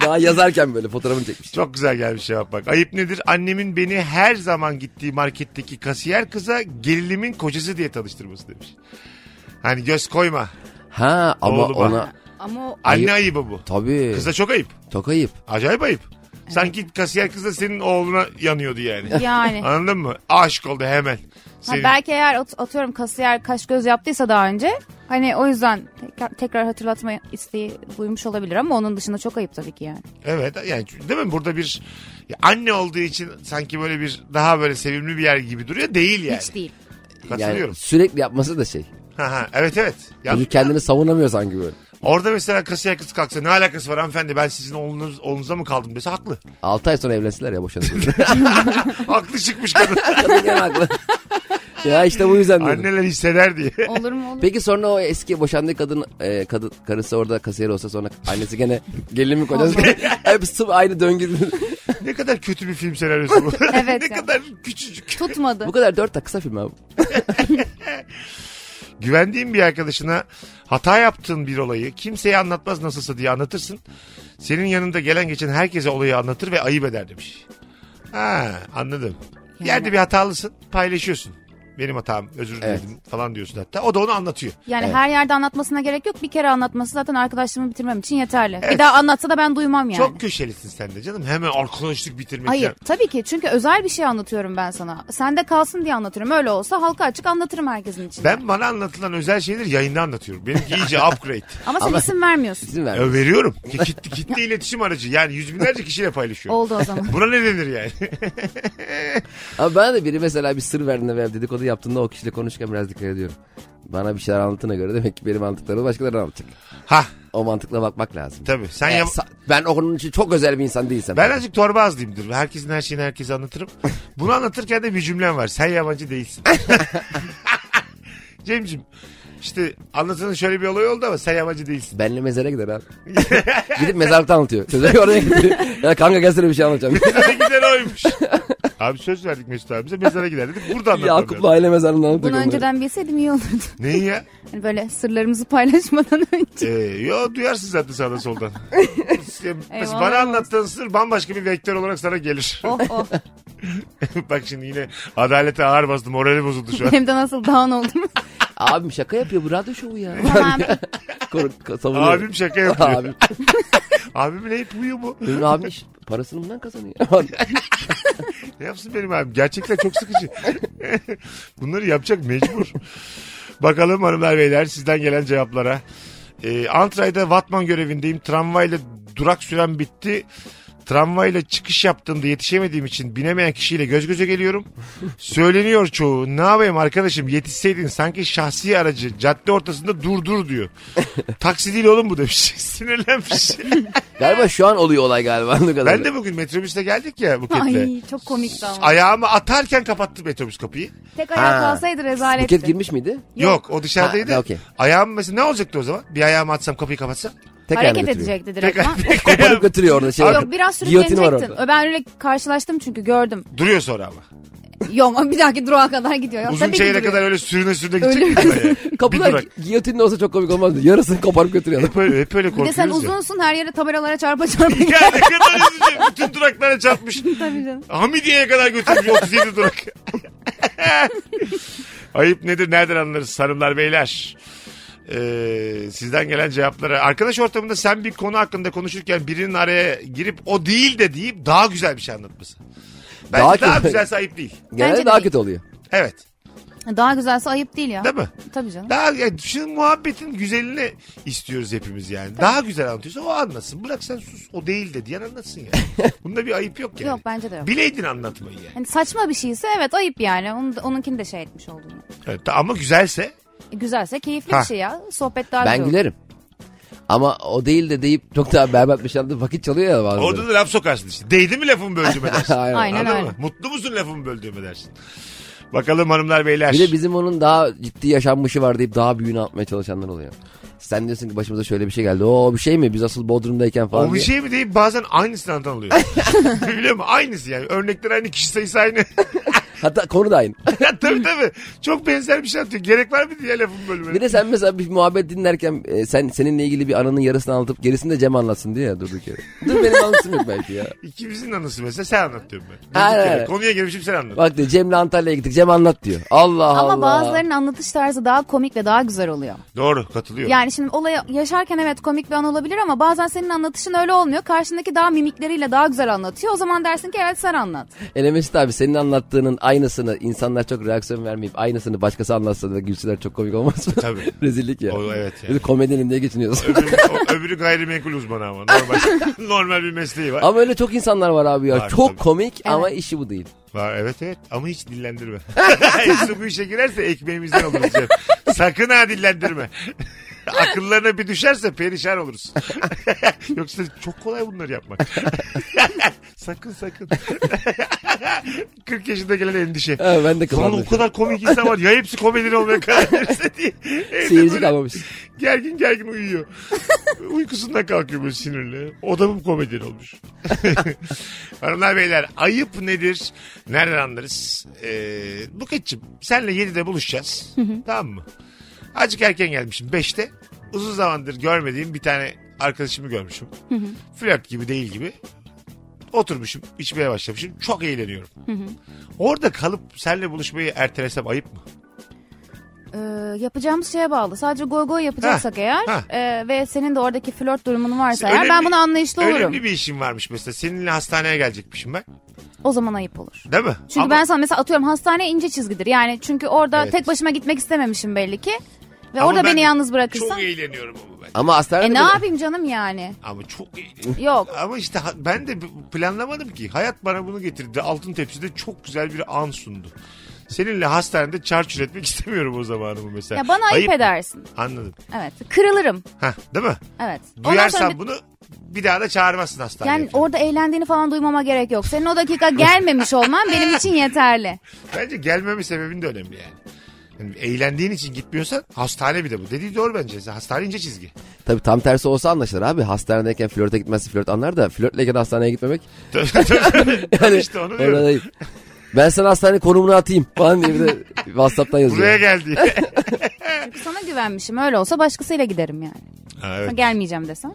S5: Daha yazarken böyle fotoğrafını çekmiş.
S3: Çok güzel gelmiş cevap bak. Ayıp nedir? Annemin beni her zaman gittiği marketteki kasiyer kıza gelinimin kocası diye tanıştırması demiş. Hani göz koyma.
S5: Ha ama
S3: Oğluma.
S5: ona
S4: Ama o
S3: Anne
S5: Ayıp.
S3: ayıbı bu.
S5: tabii
S3: Kıza çok ayıp.
S5: çok ayıp.
S3: Acayip ayıp. Sanki kasiyer kız da senin oğluna yanıyordu yani.
S4: yani.
S3: Anladın mı? Aşık oldu hemen.
S4: Ha,
S3: Senin.
S4: belki eğer at- atıyorum kasiyer kaş göz yaptıysa daha önce hani o yüzden tekrar, tekrar hatırlatma isteği duymuş olabilir ama onun dışında çok ayıp tabii ki yani.
S3: Evet yani çünkü- değil mi? Burada bir ya anne olduğu için sanki böyle bir daha böyle sevimli bir yer gibi duruyor. Değil yani.
S4: Hiç değil.
S5: Yani
S3: Katılıyorum.
S5: sürekli yapması da şey.
S3: Ha, ha, evet evet. Ya,
S5: Çocuk kendini savunamıyor sanki böyle.
S3: Orada mesela kasiyer kız kalksa ne alakası var hanımefendi ben sizin oğlunuz, oğlunuza mı kaldım dese haklı.
S5: 6 ay sonra evlensinler ya boşanırlar.
S3: haklı çıkmış kadın.
S5: Kadın gene haklı. ya işte bu yüzden dedim.
S3: Anneler hisseder diye.
S4: Olur mu olur.
S5: Peki sonra o eski boşandığı kadın, e, kadın karısı orada kasiyer olsa sonra annesi gene gelin mi kocası? Hep sırf aynı döngü.
S3: ne kadar kötü bir film senaryosu bu.
S4: Evet
S3: ne
S4: ya.
S3: kadar küçücük.
S4: Tutmadı.
S5: bu kadar dört dakika film abi.
S3: Güvendiğin bir arkadaşına hata yaptığın bir olayı kimseye anlatmaz nasılsa diye anlatırsın. Senin yanında gelen geçen herkese olayı anlatır ve ayıp eder demiş. Ha anladım. Bir Yerde bir hatalısın paylaşıyorsun. Benim hatam özür dilerim
S5: Evet.
S3: falan diyorsun hatta. O da onu anlatıyor.
S4: Yani
S5: Evet.
S4: her yerde anlatmasına gerek yok. Bir kere anlatması zaten arkadaşlığımı bitirmem için yeterli. Bir daha anlatsa da ben duymam yani.
S3: Çok köşelisin sen de canım. Hemen arkadaşlık bitirmek.
S4: Hayır
S3: yani.
S4: tabii ki çünkü özel bir şey anlatıyorum ben sana. Sende kalsın diye anlatıyorum. Öyle olsa halka açık anlatırım herkesin için.
S3: Ben bana anlatılan özel şeyleri yayında anlatıyorum. Benimki iyice upgrade.
S4: Ama sen
S5: Ama-
S4: isim vermiyorsun.
S5: İzin ver.
S3: Ya veriyorum. Ki- Kitle, kitle iletişim aracı. Yani yüz binlerce kişiyle paylaşıyorum.
S4: Oldu o zaman.
S3: Buna ne denir yani?
S5: Ama bana da biri mesela bir sır verdiğinde veya dedikodu yaptığında o kişiyle konuşurken biraz dikkat ediyorum. Bana bir şeyler anlattığına göre demek ki benim anlattıklarımı başkaları anlatacak.
S3: ha
S5: O mantıkla bakmak lazım.
S3: tabii. Sen
S5: E,
S3: ya-
S5: sa- ben onun için çok özel bir insan değilsem.
S3: Ben azıcık torba azlıyımdır. Herkesin her şeyini herkese anlatırım. Bunu anlatırken de bir cümlem var. Sen yabancı değilsin. Cem'cim işte anlatılan şöyle bir olay oldu ama sen yabancı değilsin.
S5: Benle mezara gider abi. Gidip mezarlıkta anlatıyor. Sözleri oraya gidiyor. Ya kanka gelsene bir şey anlatacağım.
S3: Mezara giden oymuş. Abi söz verdik Mesut abimize mezara gider dedik. Burada anlatalım.
S5: Yakup'la aile mezarında anlatıyor.
S4: Bunu
S5: konuları.
S4: önceden bilseydim iyi olurdu.
S3: Neyi ya?
S4: Hani böyle sırlarımızı paylaşmadan önce.
S3: Ee, yo duyarsın zaten sağdan soldan. Sen-
S4: Eyvallah.
S3: bana anlattığın sır bambaşka bir vektör olarak sana gelir.
S4: Oh oh.
S3: Bak şimdi yine adalete ağır bastı morali bozuldu şu an.
S4: Hem de nasıl down oldum.
S5: Abim şaka yapıyor bu radyo şovu ya.
S4: tamam.
S5: Kork, ko- savunuyor.
S3: Abim şaka yapıyor.
S5: Abim.
S3: Abimin hep huyu mu?
S5: Benim abim iş- parasını bundan kazanıyor.
S3: Ne yapsın benim abim? Gerçekten çok sıkıcı. Bunları yapacak mecbur. Bakalım hanımlar beyler sizden gelen cevaplara. Ee, Antray'da Vatman görevindeyim. Tramvayla durak süren bitti. Tramvayla çıkış yaptığımda yetişemediğim için binemeyen kişiyle göz göze geliyorum. Söyleniyor çoğu. Ne yapayım arkadaşım yetişseydin sanki şahsi aracı cadde ortasında dur dur diyor. Taksi değil oğlum bu demiş. Sinirlenmiş.
S5: galiba şu an oluyor olay galiba. anladığım
S3: ben
S5: kadarıyla.
S3: de bugün metrobüste geldik ya buketle.
S4: Ay çok komikti ama.
S3: Ayağımı atarken kapattı metrobüs kapıyı.
S4: Tek ayağa
S5: Ha.
S4: kalsaydı rezaletti.
S5: Buket girmiş miydi?
S3: Yok, o dışarıdaydı.
S5: Ha, okey.
S3: Ayağım mesela ne olacaktı o zaman? Bir ayağımı atsam kapıyı kapatsam.
S5: Tekrar
S4: Hareket
S5: götürüyor.
S4: edecekti direkt. ama-
S5: Koparıp götürüyor orada. Şey,
S4: Yok biraz
S5: Giyotin var orada.
S4: sürüklenecektin. Ben öyle karşılaştım çünkü gördüm.
S3: Duruyor sonra ama.
S4: Yok bir dahaki durağa kadar gidiyor. Ya,
S3: Uzun
S4: tabii ki
S3: çeyreğe
S4: duruyor.
S3: kadar öyle sürüne sürüne gidecek. Öyle. Bir
S5: Kapılar
S3: durak.
S5: giyotinle olsa çok komik olmazdı. Yarısını koparıp götürüyor.
S3: Hep öyle, hep öyle
S4: Bir de
S3: korkuyoruz
S4: sen
S3: ya.
S4: uzunsun her yere tabelalara çarpa çarpa
S3: Ya ne kadar üzücü. Bütün duraklara çarpmış.
S4: Tabii canım.
S3: Hamidiye'ye kadar götürmüş 37 durak. Ayıp nedir nereden anlarız hanımlar beyler. Ee, sizden gelen cevaplara. Arkadaş ortamında sen bir konu hakkında konuşurken birinin araya girip o değil de deyip daha güzel bir şey anlatması. Bence daha,
S5: Daha
S3: daha
S5: kötü.
S3: güzelse ayıp değil.
S5: Genelde
S4: Bence
S5: daha
S4: değil.
S5: kötü oluyor.
S3: Evet.
S4: Daha güzelse ayıp değil ya.
S3: Değil mi?
S4: Tabii canım.
S3: Daha ya şu muhabbetin güzelini istiyoruz hepimiz yani. Daha güzel anlatıyorsa o anlasın. Bırak sen sus o değil de diyen anlatsın yani. Bunda bir ayıp yok yani.
S4: Yok bence de yok.
S3: Bileydin anlatmayı yani.
S4: Hani saçma bir şeyse evet ayıp yani. Onun, da- onunkini de şey etmiş oldum. yani.
S3: Evet, ama güzelse
S4: E, güzelse keyifli
S3: Ha.
S4: bir şey ya. Sohbet daha
S5: Ben
S4: güzel olur.
S5: gülerim. Ama o değil de deyip çok daha berbat bir şey anlatıp vakit çalıyor ya bazen.
S3: orada da laf sokarsın işte. Değdi mi lafımı böldüğüme dersin.
S5: Aynen.
S4: Aynen.
S3: Anladın
S4: öyle.
S3: mı? Mutlu musun lafımı böldüğüme dersin. Bakalım hanımlar beyler.
S5: Bir de bizim onun daha ciddi yaşanmışı var deyip daha büyüğünü atmaya çalışanlar oluyor. Sen diyorsun ki başımıza şöyle bir şey geldi. Oo bir şey mi? Biz asıl Bodrum'dayken falan.
S3: o bir
S5: diye.
S3: şey mi deyip bazen aynısını anlatan oluyor. Biliyor musun? Aynısı yani. Örnekler aynı, kişi sayısı aynı.
S5: Hatta konu da aynı.
S3: tabii tabii. Çok benzer bir şey anlatıyor. Gerek var mı diye lafımı bölmeye.
S5: Bir de sen mesela bir muhabbet dinlerken e, sen seninle ilgili bir anının yarısını anlatıp gerisini de Cem anlatsın diye ya durduk yere. Dur benim anlatım yok belki ya.
S3: İkimizin anısı mesela sen anlat diyorum ben. Durduk
S5: Aynen,
S3: yere.
S5: aynen.
S3: Konuya girmişim sen anlat.
S5: Bak diyor Cem'le Antalya'ya gittik Cem anlat diyor. Allah Allah.
S4: Ama bazılarının anlatış tarzı daha komik ve daha güzel oluyor.
S3: Doğru katılıyorum.
S4: Yani şimdi olayı yaşarken evet komik bir an olabilir ama bazen senin anlatışın öyle olmuyor. Karşındaki daha mimikleriyle daha güzel anlatıyor. O zaman dersin ki evet sen anlat.
S5: Elemesut abi senin anlattığının aynısını insanlar çok reaksiyon vermeyip aynısını başkası anlatsa da gülsüler çok komik olmaz mı?
S3: E, Tabii.
S5: Rezillik ya.
S3: O, evet yani.
S5: Bir de komedinin diye geçiniyorsun.
S3: öbürü, o- öbürü gayrimenkul uzmanı ama normal, normal bir mesleği var.
S5: ama öyle çok insanlar var abi ya.
S3: Var,
S5: çok
S3: tabii.
S5: komik ama işi bu değil.
S3: Var evet evet ama hiç dillendirme. Su bu işe girerse ekmeğimizden alırız. Cem. Sakın ha dillendirme. Akıllarına bir düşerse perişan oluruz. Yoksa çok kolay bunları yapmak. sakın sakın. 40 yaşında gelen endişe.
S5: Ha, ben de
S3: Lan
S5: kafamda.
S3: o kadar komik insan var. Ya hepsi komedyen olmaya karar verirse diye. Evde
S5: Seyirci
S3: böyle
S5: kalmamış.
S3: Gergin gergin uyuyor. Uykusundan kalkıyor böyle sinirli. Odamım komedyen olmuş. Hanımlar beyler ayıp nedir? Nereden anlarız? Ee, Buketçim senle 7'de buluşacağız. tamam mı? Azıcık erken gelmişim 5'te. Uzun zamandır görmediğim bir tane arkadaşımı görmüşüm. Flört gibi değil gibi. Oturmuşum içmeye başlamışım. Çok eğleniyorum. Orada kalıp senle buluşmayı ertelesem ayıp mı?
S4: Ee, yapacağımız şeye bağlı. Sadece goy goy yapacaksak
S3: Ha,
S4: eğer
S3: ha.
S4: e, ve senin de oradaki flört durumun varsa eğer
S3: Önemli-
S4: ben buna anlayışlı olurum.
S3: Önemli bir işim varmış mesela. Seninle hastaneye gelecekmişim ben.
S4: O zaman ayıp olur.
S3: Değil mi?
S4: Çünkü
S3: Ama
S4: ben sana mesela atıyorum hastane ince çizgidir. Yani çünkü orada
S3: Evet.
S4: tek başıma gitmek istememişim belli ki. Ve
S3: Ama
S4: orada
S3: ben
S4: beni yalnız bırakırsan.
S3: Çok eğleniyorum ama ben.
S5: Ama hastanede
S4: E ne
S5: böyle-
S4: yapayım canım yani?
S3: Ama çok eğleniyorum.
S4: Yok.
S3: Ama işte ha- ben de bu- planlamadım ki. Hayat bana bunu getirdi. Altın tepside çok güzel bir an sundu. Seninle hastanede çarçur etmek istemiyorum o zamanımı mesela.
S4: Ya bana ayıp, edersin.
S3: Anladım.
S4: Evet. Kırılırım.
S3: Hah, değil mi?
S4: Evet. Ondan
S3: Duyarsan
S4: sonra bir-
S3: bunu bir daha da çağırmazsın hastaneye.
S4: Yani orada eğlendiğini falan duymama gerek yok. Senin o dakika gelmemiş olman benim için yeterli.
S3: Bence gelmemin sebebin de önemli yani. Yani eğlendiğin için gitmiyorsan hastane bir de bu. Dediği doğru bence. Hastane ince çizgi.
S5: Tabii tam tersi olsa anlaşılır abi. Hastanedeyken flörte gitmezse flört anlar da flörtleyken hastaneye gitmemek.
S3: Tabii işte onu diyorum.
S5: orada değil. Ben sana hastane konumunu atayım falan diye bir de Whatsapp'tan yazıyor.
S3: Buraya geldi.
S4: Çünkü sana güvenmişim. Öyle olsa başkasıyla giderim yani.
S3: Ha, evet.
S4: Gelmeyeceğim desem.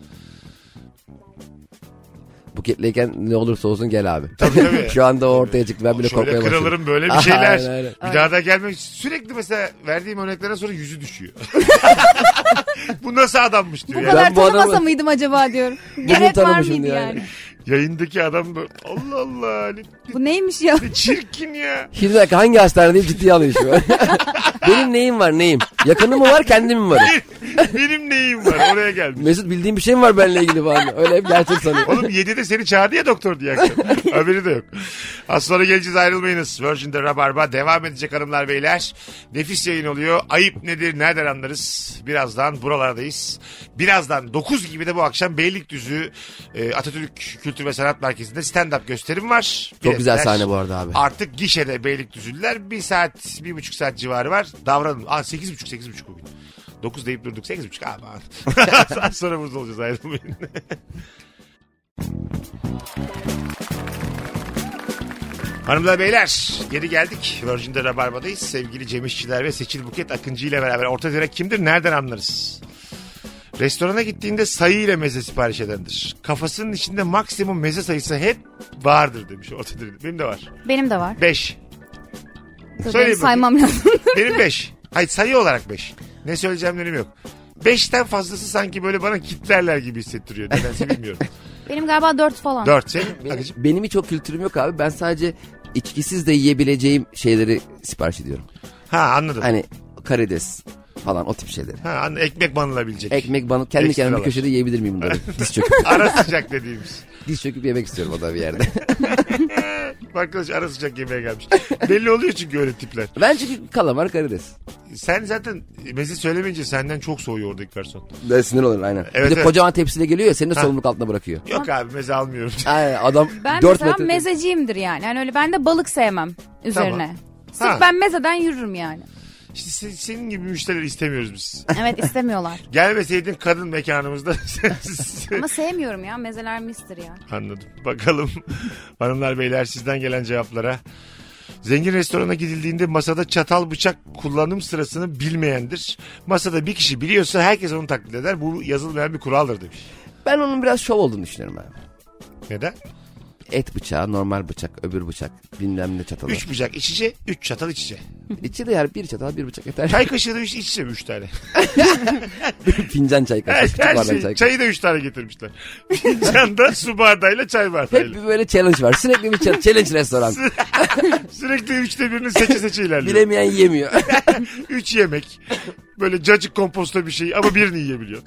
S5: Buketleyken ne olursa olsun gel abi.
S3: Tabii, tabii.
S5: Şu anda o ortaya çıktı ben bile
S3: Şöyle
S5: korkmaya başladım.
S3: kırılırım böyle bir şeyler.
S5: Aynen, aynen.
S3: Bir daha da gelmek. Sürekli mesela verdiğim örneklerden sonra yüzü düşüyor. Bu nasıl adammış diyor.
S4: Bu
S3: yani.
S4: kadar
S5: bu
S4: tanımasa
S5: adamı-
S4: mıydım acaba diyorum. Gerek var
S5: tanımışım
S4: mıydı yani?
S5: yani.
S3: Yayındaki adam böyle Allah Allah ne,
S4: Bu neymiş ya?
S3: ne çirkin ya.
S5: Şimdi bir dakika hangi hastane deyip ciddiye alıyor şu Benim neyim var neyim? Yakını mı var kendi mi var?
S3: Benim neyim var oraya gelmiş.
S5: Mesut bildiğim bir şey mi var benimle ilgili falan? Öyle hep gerçek sanıyor.
S3: Oğlum 7'de seni çağırdı ya doktor diye akşam. Haberi de yok. Az sonra geleceğiz ayrılmayınız. Virgin'de Rabarba devam edecek hanımlar beyler. Nefis yayın oluyor. Ayıp nedir nereden anlarız? Birazdan buralardayız. Birazdan 9 gibi de bu akşam Beylikdüzü e, Atatürk Kültür ve Sanat Merkezi'nde stand-up gösterim var.
S5: Çok güzel
S3: Biletler
S5: sahne bu arada abi.
S3: Artık gişede Beylikdüzü'lüler bir saat, bir buçuk saat civarı var. Davranın. Aa sekiz buçuk, sekiz buçuk bugün. Dokuz deyip durduk. Sekiz buçuk aman. saat sonra burada olacağız ayrılmayın. Hanımlar beyler geri geldik. Virgin'de Rabarba'dayız. Sevgili Cem İşçiler ve Seçil Buket Akıncı ile beraber orta direk kimdir nereden anlarız? Restorana gittiğinde sayı ile meze sipariş edendir. Kafasının içinde maksimum meze sayısı hep vardır demiş orta direk. Benim de var.
S4: Benim de var.
S3: Beş.
S4: Dur,
S3: Söyle
S4: benim
S3: bakayım.
S4: saymam lazım.
S3: Benim 5. Hayır sayı olarak 5. Ne söyleyeceğimlerim yok. 5'ten fazlası sanki böyle bana kitlerler gibi hissettiriyor. Nedense bilmiyorum.
S4: Benim galiba dört falan.
S3: 4 senin
S5: Benim,
S3: Akıncı?
S5: benim hiç o kültürüm yok abi. Ben sadece içkisiz de yiyebileceğim şeyleri sipariş ediyorum.
S3: Ha anladım.
S5: Hani karides falan o tip şeyleri.
S3: Ha, anladım. Ekmek banılabilecek.
S5: Ekmek banıp kendi kendime bir
S3: Ekstralar.
S5: köşede yiyebilir miyim bunları? Diz çöküp,
S3: Ara sıcak dediğimiz.
S5: diz çöküp yemek istiyorum o da bir yerde.
S3: Arkadaş ara sıcak yemeğe gelmiş. Belli oluyor çünkü öyle tipler.
S5: ben çünkü kalamar karides.
S3: Sen zaten mezi söylemeyince senden çok soğuyor oradaki garson.
S5: Ben sinir olurum aynen.
S3: Evet,
S5: bir de
S3: evet.
S5: kocaman tepsiyle geliyor ya seni de sorumluluk altına bırakıyor.
S3: Yok abi meze almıyorum.
S5: Ay, adam
S4: Ben
S5: 4
S4: mesela
S5: metre.
S4: mezeciyimdir yani. Yani öyle ben de balık sevmem üzerine. Sırf
S3: Ha.
S4: ben mezeden yürürüm yani.
S3: İşte sen- senin gibi müşterileri istemiyoruz biz.
S4: Evet istemiyorlar.
S3: Gelmeseydin kadın mekanımızda.
S4: Ama sevmiyorum ya mezeler mistir ya.
S3: Anladım. Bakalım hanımlar beyler sizden gelen cevaplara. Zengin restorana gidildiğinde masada çatal bıçak kullanım sırasını bilmeyendir. Masada bir kişi biliyorsa herkes onu taklit eder. Bu yazılmayan bir kuraldır demiş.
S5: Ben onun biraz şov olduğunu düşünüyorum abi.
S3: Neden?
S5: Et bıçağı, normal bıçak, öbür bıçak, bilmem ne çatalı.
S3: Üç bıçak içice, üç çatal içice.
S5: İçi de yani bir çatal, bir bıçak yeter.
S3: Çay kaşığı da üç içice mi üç tane?
S5: Fincan çay
S3: Her,
S5: kaşığı, küçük
S3: her
S5: bardak
S3: şey,
S5: çay kaşığı.
S3: çayı da üç tane getirmişler. Fincanda su bardağıyla çay
S5: Hep
S3: bardağıyla.
S5: bir böyle challenge var. Sürekli bir challenge, challenge restoran.
S3: Sürekli üçte birini seçe seçe ilerliyor.
S5: Bilemeyen yemiyor.
S3: üç yemek. Böyle cacık komposta bir şey ama birini yiyebiliyor.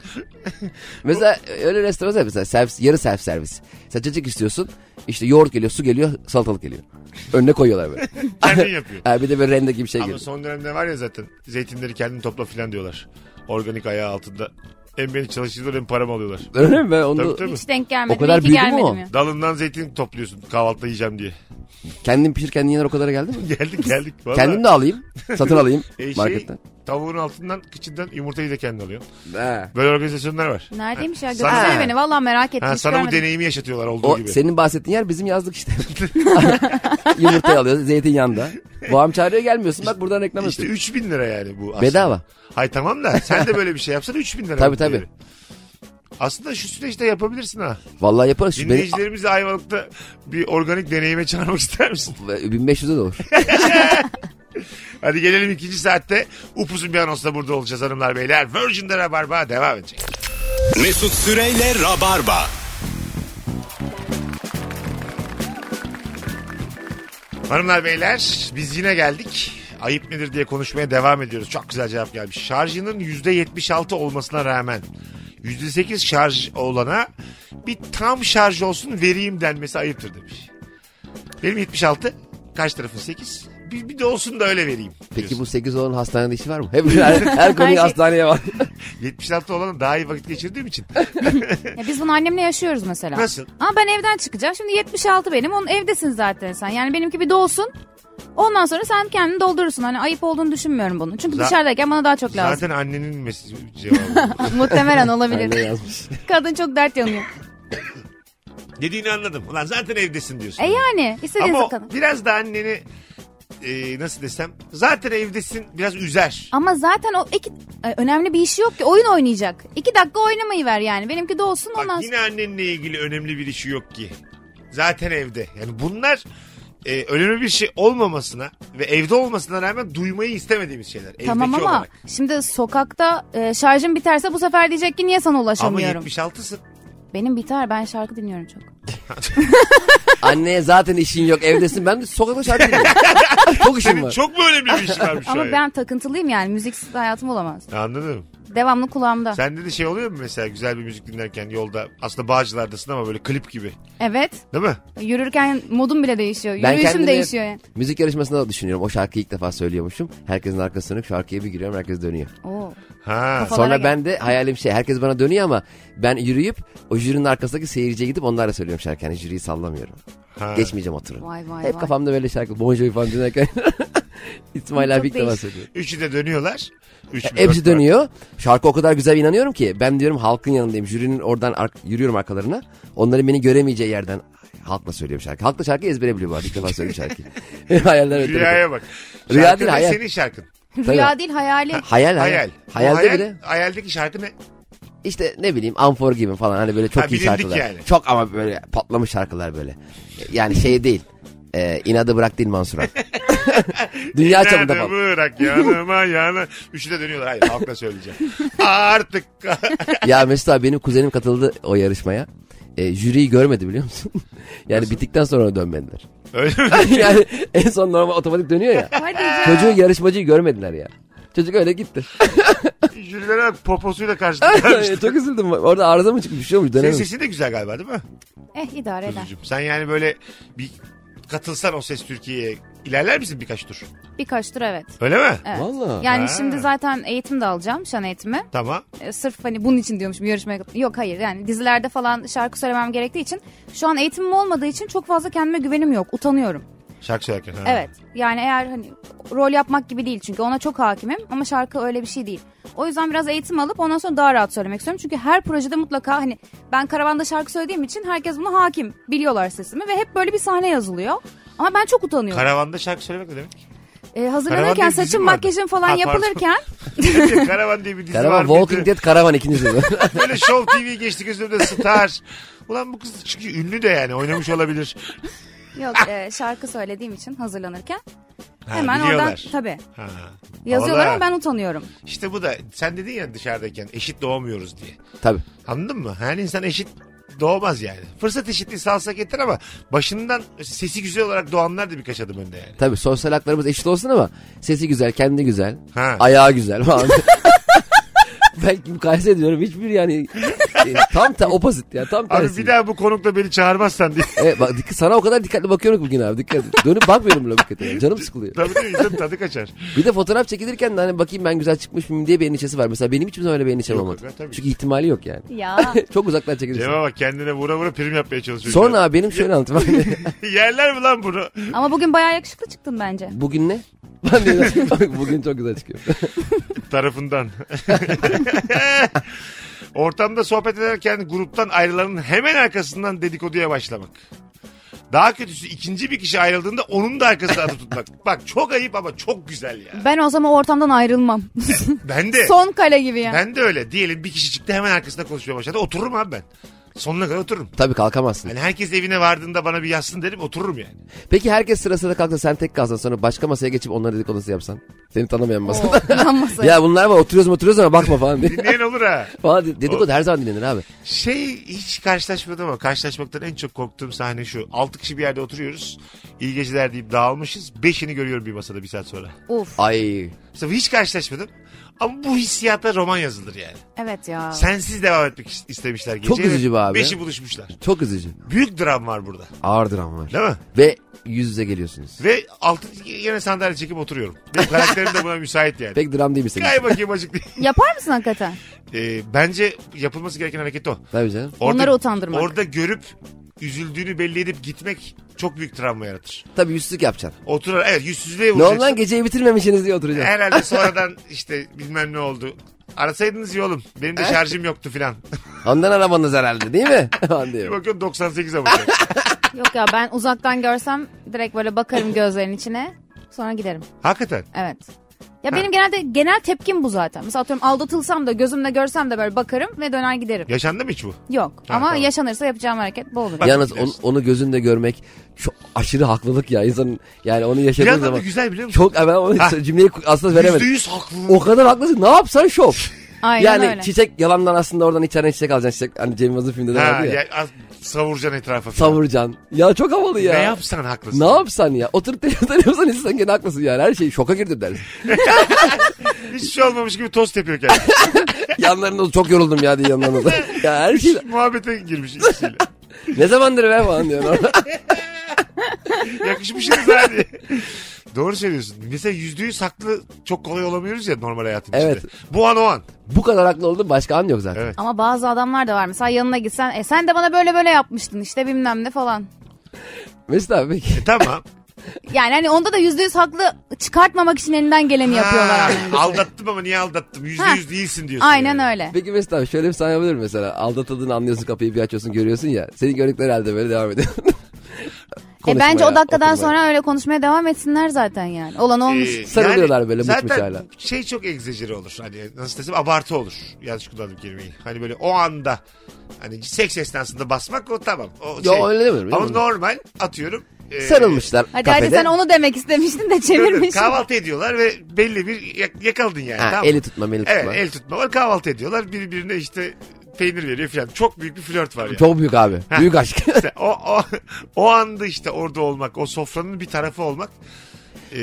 S5: mesela öyle restoran var mesela servis, yarı self servis. Sen çocuk istiyorsun. işte yoğurt geliyor, su geliyor, salatalık geliyor. Önüne koyuyorlar böyle.
S3: Kendin yapıyor.
S5: Ha, bir de böyle rendek gibi şey
S3: Ama
S5: geliyor.
S3: son dönemde var ya zaten zeytinleri kendin topla filan diyorlar. Organik ayağı altında. Hem beni çalıştırıyorlar hem paramı alıyorlar.
S5: Öyle mi? Ben onu
S3: Tabii tabii.
S4: Hiç denk gelmedi.
S5: O kadar
S4: İyi ki
S5: büyüdü mü
S4: gelmedim
S5: o?
S4: ya.
S3: Dalından zeytin topluyorsun kahvaltıda yiyeceğim diye.
S5: kendin pişir kendin yener o kadara geldi mi?
S3: Geldik geldik. Vallahi.
S5: Kendim de alayım. Satın alayım
S3: E, şey,
S5: marketten.
S3: Tavuğun altından kıçından yumurtayı da kendin alıyorsun.
S5: Ha.
S3: Böyle organizasyonlar var.
S4: Neredeymiş ya?
S3: Sana-
S4: Göstersene beni. Vallahi merak ettim.
S3: Ha,
S4: hiç
S3: sana bu
S4: görmedim.
S3: deneyimi yaşatıyorlar olduğu
S5: O
S3: gibi.
S5: senin bahsettiğin yer bizim yazlık işte. Yumurtayı alıyoruz zeytinyağında. Babam çağırıyor gelmiyorsun bak buradan reklam
S3: İşte
S5: atıyor.
S3: 3000 lira yani bu aslında.
S5: Bedava.
S3: Hay tamam da sen de böyle bir şey yapsan 3000 lira.
S5: Tabii,
S3: bu
S5: tabii.
S3: değeri. Aslında şu süreçte yapabilirsin ha.
S5: Vallahi yaparız. Şu beni,
S3: Dinleyicilerimizi Ayvalık'ta bir organik deneyime çağırmak ister misin?
S5: 1500'e de olur.
S3: Hadi gelelim ikinci saatte. Upuzun bir anonsla burada olacağız hanımlar beyler. Virgin'de Rabarba devam edecek.
S2: Mesut Süreyle Rabarba.
S3: Hanımlar beyler biz yine geldik. Ayıp nedir diye konuşmaya devam ediyoruz. Çok güzel cevap gelmiş. Şarjının %76 olmasına rağmen %8 şarj olana bir tam şarj olsun vereyim denmesi ayıptır demiş. Benim 76 karşı tarafın 8. Bir, bir de olsun da öyle vereyim.
S5: Peki
S3: diyorsun.
S5: bu 8 olan hastanede işi var mı? Hep her, her konuyu hastaneye var.
S3: 76 olana daha iyi vakit geçirdiğim için.
S4: Ya biz bunu annemle yaşıyoruz mesela.
S3: Nasıl?
S4: Ama ben evden çıkacağım. Şimdi 76 benim. Onun evdesin zaten sen. Yani benimki bir dolsun. Ondan sonra sen kendini doldurursun. Hani ayıp olduğunu düşünmüyorum bunu. Çünkü
S3: Za-
S4: dışarıdayken bana daha çok lazım.
S3: Zaten annenin mesajı cevabı.
S4: Muhtemelen
S5: Anne
S4: olabilir.
S5: yazmış.
S4: Kadın çok dert yanıyor.
S3: Dediğini anladım. Ulan zaten evdesin diyorsun.
S4: E yani istediğiniz
S3: Ama
S4: kadın.
S3: biraz da anneni e, nasıl desem zaten evdesin biraz üzer.
S4: Ama zaten o iki Ay, önemli bir işi yok ki oyun oynayacak. İki dakika oynamayı ver yani. Benimki de olsun
S3: Bak
S4: ondan sonra.
S3: yine annenle ilgili önemli bir işi yok ki. Zaten evde. Yani bunlar e, önemli bir şey olmamasına ve evde olmasına rağmen duymayı istemediğimiz şeyler.
S4: Tamam
S3: Evdeki
S4: ama
S3: olarak.
S4: şimdi sokakta e, şarjım biterse bu sefer diyecek ki niye sana
S3: Ama
S4: ulaşamıyorum.
S3: 76'sın.
S4: Benim biter ben şarkı dinliyorum çok.
S5: Anneye zaten işin yok evdesin. Ben de sokakta şarkı dinliyorum. Çok işim
S3: Senin
S5: var.
S3: çok mu önemli bir işin varmış şu
S4: Ama
S3: an?
S4: ben takıntılıyım yani müziksiz hayatım olamaz.
S3: Anladım.
S4: Devamlı kulağımda.
S3: Sende de şey oluyor mu mesela güzel bir müzik dinlerken yolda aslında Bağcılar'dasın ama böyle klip gibi.
S4: Evet
S3: Değil mi?
S4: yürürken modum bile değişiyor.
S5: Ben
S4: Yürüyüşüm
S5: kendimi
S4: değişiyor yani.
S5: Müzik yarışmasında da düşünüyorum. O şarkıyı ilk defa söylüyormuşum. Herkesin arkasına dönüp şarkıya bir giriyorum herkes dönüyor.
S4: Oo.
S3: Ha.
S4: Kafa- Kolay
S5: Sonra
S4: gel-
S5: ben de hayalim şey herkes bana dönüyor ama ben yürüyüp o jürinin arkasındaki seyirciye gidip onlara söylüyorum şarkı. Yani jüriyi sallamıyorum.
S3: Ha.
S5: Geçmeyeceğim oturup.
S4: Vay vay
S5: Hep
S4: vay.
S5: kafamda böyle şarkı. Bon Jovi falan dinlerken. İsmail
S4: Çok
S5: abi ilk defa
S4: değişik.
S5: söylüyor.
S3: Üçü de dönüyorlar. Üç mü, dört
S5: E, Hepsi
S3: mü?
S5: dönüyor. Şarkı o kadar güzel inanıyorum ki. Ben diyorum halkın yanındayım. Jürinin oradan ar- yürüyorum arkalarına. Onların beni göremeyeceği yerden halkla söylüyorum şarkı. Halk da şarkıyı ezbere biliyor bu arada. İlk defa söylüyorum şarkıyı. Hayaller ötede.
S3: Rüyaya bak.
S5: Rüya
S3: Şarkı
S5: değil,
S3: ne?
S5: hayal.
S3: Senin şarkın.
S5: Tabii.
S4: Rüya değil hayali.
S5: Hayal hayal.
S3: Hayal.
S5: Hayalde
S3: hayal,
S5: bile
S3: Hayaldeki şarkı ne?
S5: işte ne bileyim Amfor gibi falan hani böyle çok
S3: Ha,
S5: iyi
S3: bilindik
S5: şarkılar.
S3: yani.
S5: Çok ama böyle patlamış şarkılar böyle. Yani şey değil. Ee, inadı bırak değil Mansur'a. Dünya çapında
S3: Nerede
S5: patlamış.
S3: bırak yanıma yana. Üçü de dönüyorlar. Hayır halkla söyleyeceğim. Artık.
S5: ya Mesut abi benim kuzenim katıldı o yarışmaya. E, jüriyi görmedi biliyor musun? yani bittikten sonra ona dönmediler.
S3: Öyle mi?
S5: yani en son normal otomatik dönüyor ya.
S4: Hadi ya.
S5: Çocuğu yarışmacıyı görmediler ya. Çocuk öyle gitti.
S3: Jürilere bak poposuyla karşılaştı.
S5: Çok üzüldüm. Orada arıza mı çıkmış bir şey olmuş
S3: Senin
S5: dönememiş.
S3: sesin de güzel galiba değil mi?
S4: Eh idare eder.
S3: Kuzucuğum? Sen yani böyle bir katılsan o ses Türkiye'ye ilerler misin birkaç tur?
S4: Birkaç tur evet.
S3: Öyle mi?
S4: Evet.
S5: Valla.
S4: Yani
S3: Ha.
S4: şimdi zaten eğitim de alacağım şan eğitimi.
S3: Tamam.
S4: E, sırf hani bunun için diyormuşum yarışmaya. kat- Yok hayır yani dizilerde falan şarkı söylemem gerektiği için şu an eğitimim olmadığı için çok fazla kendime güvenim yok. Utanıyorum.
S3: Şarkı söylerken. Ha.
S4: Evet. Yani eğer hani rol yapmak gibi değil çünkü ona çok hakimim ama şarkı öyle bir şey değil. O yüzden biraz eğitim alıp ondan sonra daha rahat söylemek istiyorum. Çünkü her projede mutlaka hani ben karavanda şarkı söylediğim için herkes buna hakim. Biliyorlar sesimi ve hep böyle bir sahne yazılıyor. Ama ben çok utanıyorum.
S3: Karavanda şarkı söylemek ne demek?
S4: Ee,
S3: Karavan diye
S4: hazırlanırken
S3: bir dizi
S4: saçım
S3: mi vardı?
S4: makyajım falan
S3: Ha, pardon.
S4: yapılırken
S3: Karavan diye bir dizi var
S5: Karavan
S3: mıydı?
S5: Walking Dead Karavan ikinci sezon.
S3: Böyle Show TV geçti gözümde star. Ulan bu kız çünkü ünlü de yani oynamış olabilir.
S4: yok e, şarkı söylediğim için hazırlanırken
S3: Ha,
S4: hemen oradan
S3: biliyorlar.
S4: tabii
S3: Ha.
S4: yazıyorlar
S3: Havalı
S4: ama ben utanıyorum.
S3: İşte bu da sen dedin ya dışarıdayken eşit doğamıyoruz diye.
S5: Tabii.
S3: Anladın mı? Her insan eşit doğmaz yani. Fırsat eşitliği salsa getir ama başından sesi güzel olarak doğanlar da birkaç adım önde yani.
S5: Tabii sosyal haklarımız eşit olsun ama sesi güzel, kendi güzel,
S3: Ha.
S5: ayağı güzel falan. ben mukayese ediyorum. Hiçbir yani e, tam ta opposite ya. Tam
S3: Abi
S5: tersi.
S3: bir daha bu konukla beni çağırmazsan diye.
S5: Evet, E, bak, dikkat- sana o kadar dikkatli bakıyorum ki bugün abi. Dikkat et. Dönüp bakmıyorum bile hakikaten. ya. Canım sıkılıyor.
S3: Tabii değil insanın tadı kaçar.
S5: Bir de fotoğraf çekilirken de hani bakayım ben güzel çıkmış mıyım diye bir endişesi var. Mesela benim hiçbir zaman öyle bir endişem
S3: Yok,
S5: olmadı.
S3: yok, tabii.
S5: Çünkü ihtimali yok yani.
S4: Ya.
S5: Çok uzaktan çekilirsin.
S3: Cem'e bak kendine vura vura prim yapmaya çalışıyor.
S5: Sonra abi benim şöyle anlatım.
S3: Yerler mi lan bunu?
S4: Ama bugün bayağı yakışıklı çıktın bence.
S5: Bugün ne? Ben de- Bugün çok güzel çıkıyor.
S3: tarafından. Ortamda sohbet ederken gruptan ayrılanın hemen arkasından dedikoduya başlamak. Daha kötüsü ikinci bir kişi ayrıldığında onun da arkasına atıp tutmak. Bak çok ayıp ama çok güzel ya.
S4: Ben o zaman ortamdan ayrılmam.
S3: Ben de
S4: Son kale gibi ya.
S3: ben de öyle. Diyelim bir kişi çıktı hemen arkasında konuşmaya başladı. Otururum abi ben. Sonuna kadar otururum.
S5: Tabii kalkamazsın.
S3: Hani herkes evine vardığında bana bir yazsın derim otururum yani.
S5: Peki herkes sıra sıra kalksa sen tek kalsan sonra başka masaya geçip onlara dedikodusu yapsan. Seni tanımayan masada.
S4: Ben masaya.
S5: ya bunlar var oturuyoruz mu oturuyoruz ama bakma falan diye.
S3: Dinleyen olur ha.
S5: falan diye. Dedikodu her zaman dinlenir abi.
S3: Şey hiç karşılaşmadım ama karşılaşmaktan en çok korktuğum sahne şu. 6 kişi bir yerde oturuyoruz. İyi geceler deyip dağılmışız. 5'ini görüyorum bir masada bir saat sonra.
S4: Uf.
S5: Ay
S3: Mesela hiç karşılaşmadım. Ama bu hissiyata roman yazılır yani.
S4: Evet ya.
S3: Sensiz devam etmek is- istemişler gece.
S5: Çok üzücü be abi.
S3: Beşi buluşmuşlar.
S5: çok üzücü.
S3: Büyük dram var burada.
S5: Ağır dram var.
S3: Değil mi?
S5: Ve yüz yüze geliyorsunuz.
S3: Ve altı yine sandalye çekip oturuyorum. Benim karakterim de buna müsait yani.
S5: E Pek dram değil mi senin?
S3: Kay bakayım acık diye.
S4: Yapar mısın hakikaten?
S3: Ee, bence yapılması gereken hareket o.
S5: Tabii canım.
S4: Onları utandırmak.
S3: Orada görüp üzüldüğünü belli edip gitmek çok büyük travma yaratır.
S5: Tabii yüzsüzlük yapacaksın.
S3: Oturur evet yüzsüzlüğe
S5: Ne oldu lan
S3: vuracaksın.
S5: geceyi bitirmemişsiniz diye oturacaksın.
S3: Herhalde sonradan işte bilmem ne oldu. Arasaydınız ya oğlum. Benim de şarjım yoktu filan.
S5: Ondan aramanız herhalde değil mi? Falan diye.
S3: Bir bakıyorum 98 ama.
S4: Yok ya ben uzaktan görsem direkt böyle bakarım gözlerin içine. Sonra giderim.
S3: Hakikaten.
S4: Evet. Ya benim genelde genel tepkim bu zaten. Mesela atıyorum aldatılsam da gözümle görsem de böyle bakarım ve döner giderim.
S3: Yaşandı mı hiç bu?
S4: Yok
S3: Ha,
S4: ama
S3: tamam.
S4: yaşanırsa yapacağım hareket bu olur.
S3: Bak-
S5: Yalnız
S3: Biliyorsun.
S5: onu, onu gözünde görmek çok aşırı haklılık ya. İnsanın yani onu yaşadığı
S3: Biraz da
S5: zaman.
S3: güzel biliyor musun?
S5: Çok ben onu cümleyi aslında veremedim.
S3: %100 haklı.
S5: O kadar haklısın. Ne yapsan şov.
S4: Aynen
S5: yani
S4: öyle.
S5: çiçek yalandan aslında oradan içeriden çiçek alacaksın. Çiçek, hani Cem Yılmaz'ın filminde de
S3: Ha,
S5: vardı ya.
S3: ya, az- savuracaksın etrafa filan.
S5: Savurcan. Ya çok havalı ya.
S3: Ne yapsan haklısın.
S5: Ne yapsan ya? Oturup televizyon yapsan insan gene haklısın yani. Her şey şoka girdim dersin.
S3: Hiç şey olmamış gibi toz tepiyor kendini.
S5: yanlarında çok yoruldum ya diye yanlarında. ya her şey
S3: Muhabbete girmiş ikisiyle.
S5: ne zamandır be falan diyor.
S3: Yakışmışsınız ha diye. Doğru söylüyorsun. Mesela yüzde yüz haklı çok kolay olamıyoruz ya normal hayatın
S5: Evet.
S3: içinde. Bu an o an.
S5: Bu kadar haklı oldum başka an yok zaten.
S3: Evet.
S4: Ama bazı adamlar da var. Mesela yanına gitsen e sen de bana böyle böyle yapmıştın işte bilmem ne falan.
S5: Mesut abi peki.
S3: E, tamam.
S4: Yani hani onda da yüzde yüz haklı çıkartmamak için elinden geleni yapıyorlar.
S3: Ha,
S4: aslında.
S3: aldattım ama niye aldattım? Yüzde
S4: Ha.
S3: yüz değilsin diyorsun.
S4: Aynen
S3: yani.
S4: öyle.
S5: Peki Mesut abi şöyle bir sahne yapabilir miyim mesela. Aldatıldığını anlıyorsun kapıyı bir açıyorsun görüyorsun ya. Senin gördükleri herhalde böyle devam ediyor.
S4: E bence
S5: Konuşmaya,
S4: o dakikadan
S5: oturmaya.
S4: sonra öyle konuşmaya devam etsinler zaten yani. Olan olmuş.
S3: Ee,
S5: Sarılıyorlar böyle mutmuş
S3: zaten
S5: hala.
S3: şey çok egzajere olur. Hani nasıl desem abartı olur. Yanlış kullandım kelimeyi. Hani böyle o anda hani seks esnasında basmak o tamam. O
S5: Yo,
S3: şey.
S5: öyle demiyorum.
S3: Ama
S5: Yok.
S3: normal atıyorum. e,
S5: Sarılmışlar
S4: hadi hadi
S5: kafede.
S4: sen onu demek istemiştin de
S3: Tabii,
S4: çevirmişsin.
S3: kahvaltı ediyorlar ve belli bir yak- yakaladın yani.
S5: Ha,
S3: tamam.
S5: Eli tutma eli tutma.
S3: Evet el tutma var kahvaltı ediyorlar. Birbirine işte peynir veriyor falan. Çok büyük bir flört var yani.
S5: Çok büyük abi. Büyük aşk.
S3: İşte o, o, o anda işte orada olmak, o sofranın bir tarafı olmak e,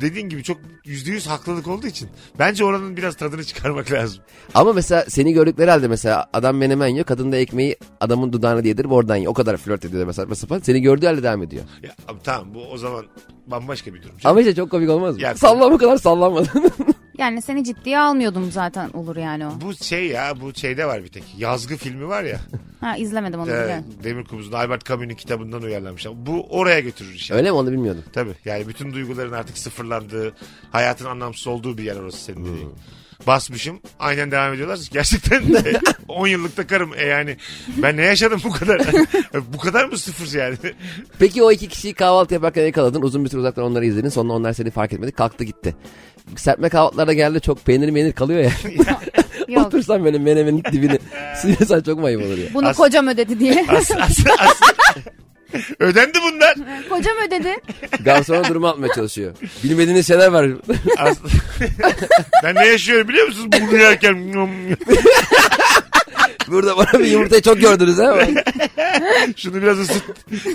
S3: dediğin gibi çok yüzde yüz haklılık olduğu için bence oranın biraz tadını çıkarmak lazım.
S5: Ama mesela seni gördükleri halde mesela adam menemen yiyor. Kadın da ekmeği adamın dudağına yedirip oradan yiyor. O kadar flört ediyor mesela saçma sapan. Seni gördüğü halde devam ediyor.
S3: Ya, abi tamam bu o zaman bambaşka bir durum.
S5: Ama işte çok komik olmaz mı?
S3: Ya-
S5: Sallan bu kadar sallanmadın.
S4: Yani seni ciddiye almıyordum zaten olur yani o.
S3: Bu şey ya bu şeyde var bir tek. Yazgı filmi var ya.
S4: Ha izlemedim onu.
S3: e,
S4: biliyorum.
S3: Demir Kubuz'un Albert Camus'un kitabından uyarlanmışlar. Bu oraya götürür işte.
S5: Öyle mi onu bilmiyordum.
S3: Tabii yani bütün duyguların artık sıfırlandığı, hayatın anlamsız olduğu bir yer orası senin dediğin. Basmışım aynen devam ediyorlar. Gerçekten de 10 yıllıkta karım e yani ben ne yaşadım bu kadar? bu kadar mı sıfır yani?
S5: Peki o iki kişiyi kahvaltı yaparken yakaladın. Uzun bir süre uzaktan onları izledin. Sonra onlar seni fark etmedi. Kalktı gitti. Serpme kahvaltılarda geldi çok peynir menir kalıyor ya.
S4: Yok.
S5: Otursan böyle menemenin dibini sıyırsan çok mayım olur ya.
S4: Bunu
S3: As-
S4: kocam ödedi diye.
S3: Aslında, aslında ödendi bunlar.
S4: kocam ödedi.
S5: Garsona durumu atmaya çalışıyor. Bilmediğiniz şeyler var.
S3: Aslında- ben ne yaşıyorum biliyor musunuz? Bunu yerken
S5: Burada bana bir yumurtayı çok gördünüz ha.
S3: Şunu biraz ısıt.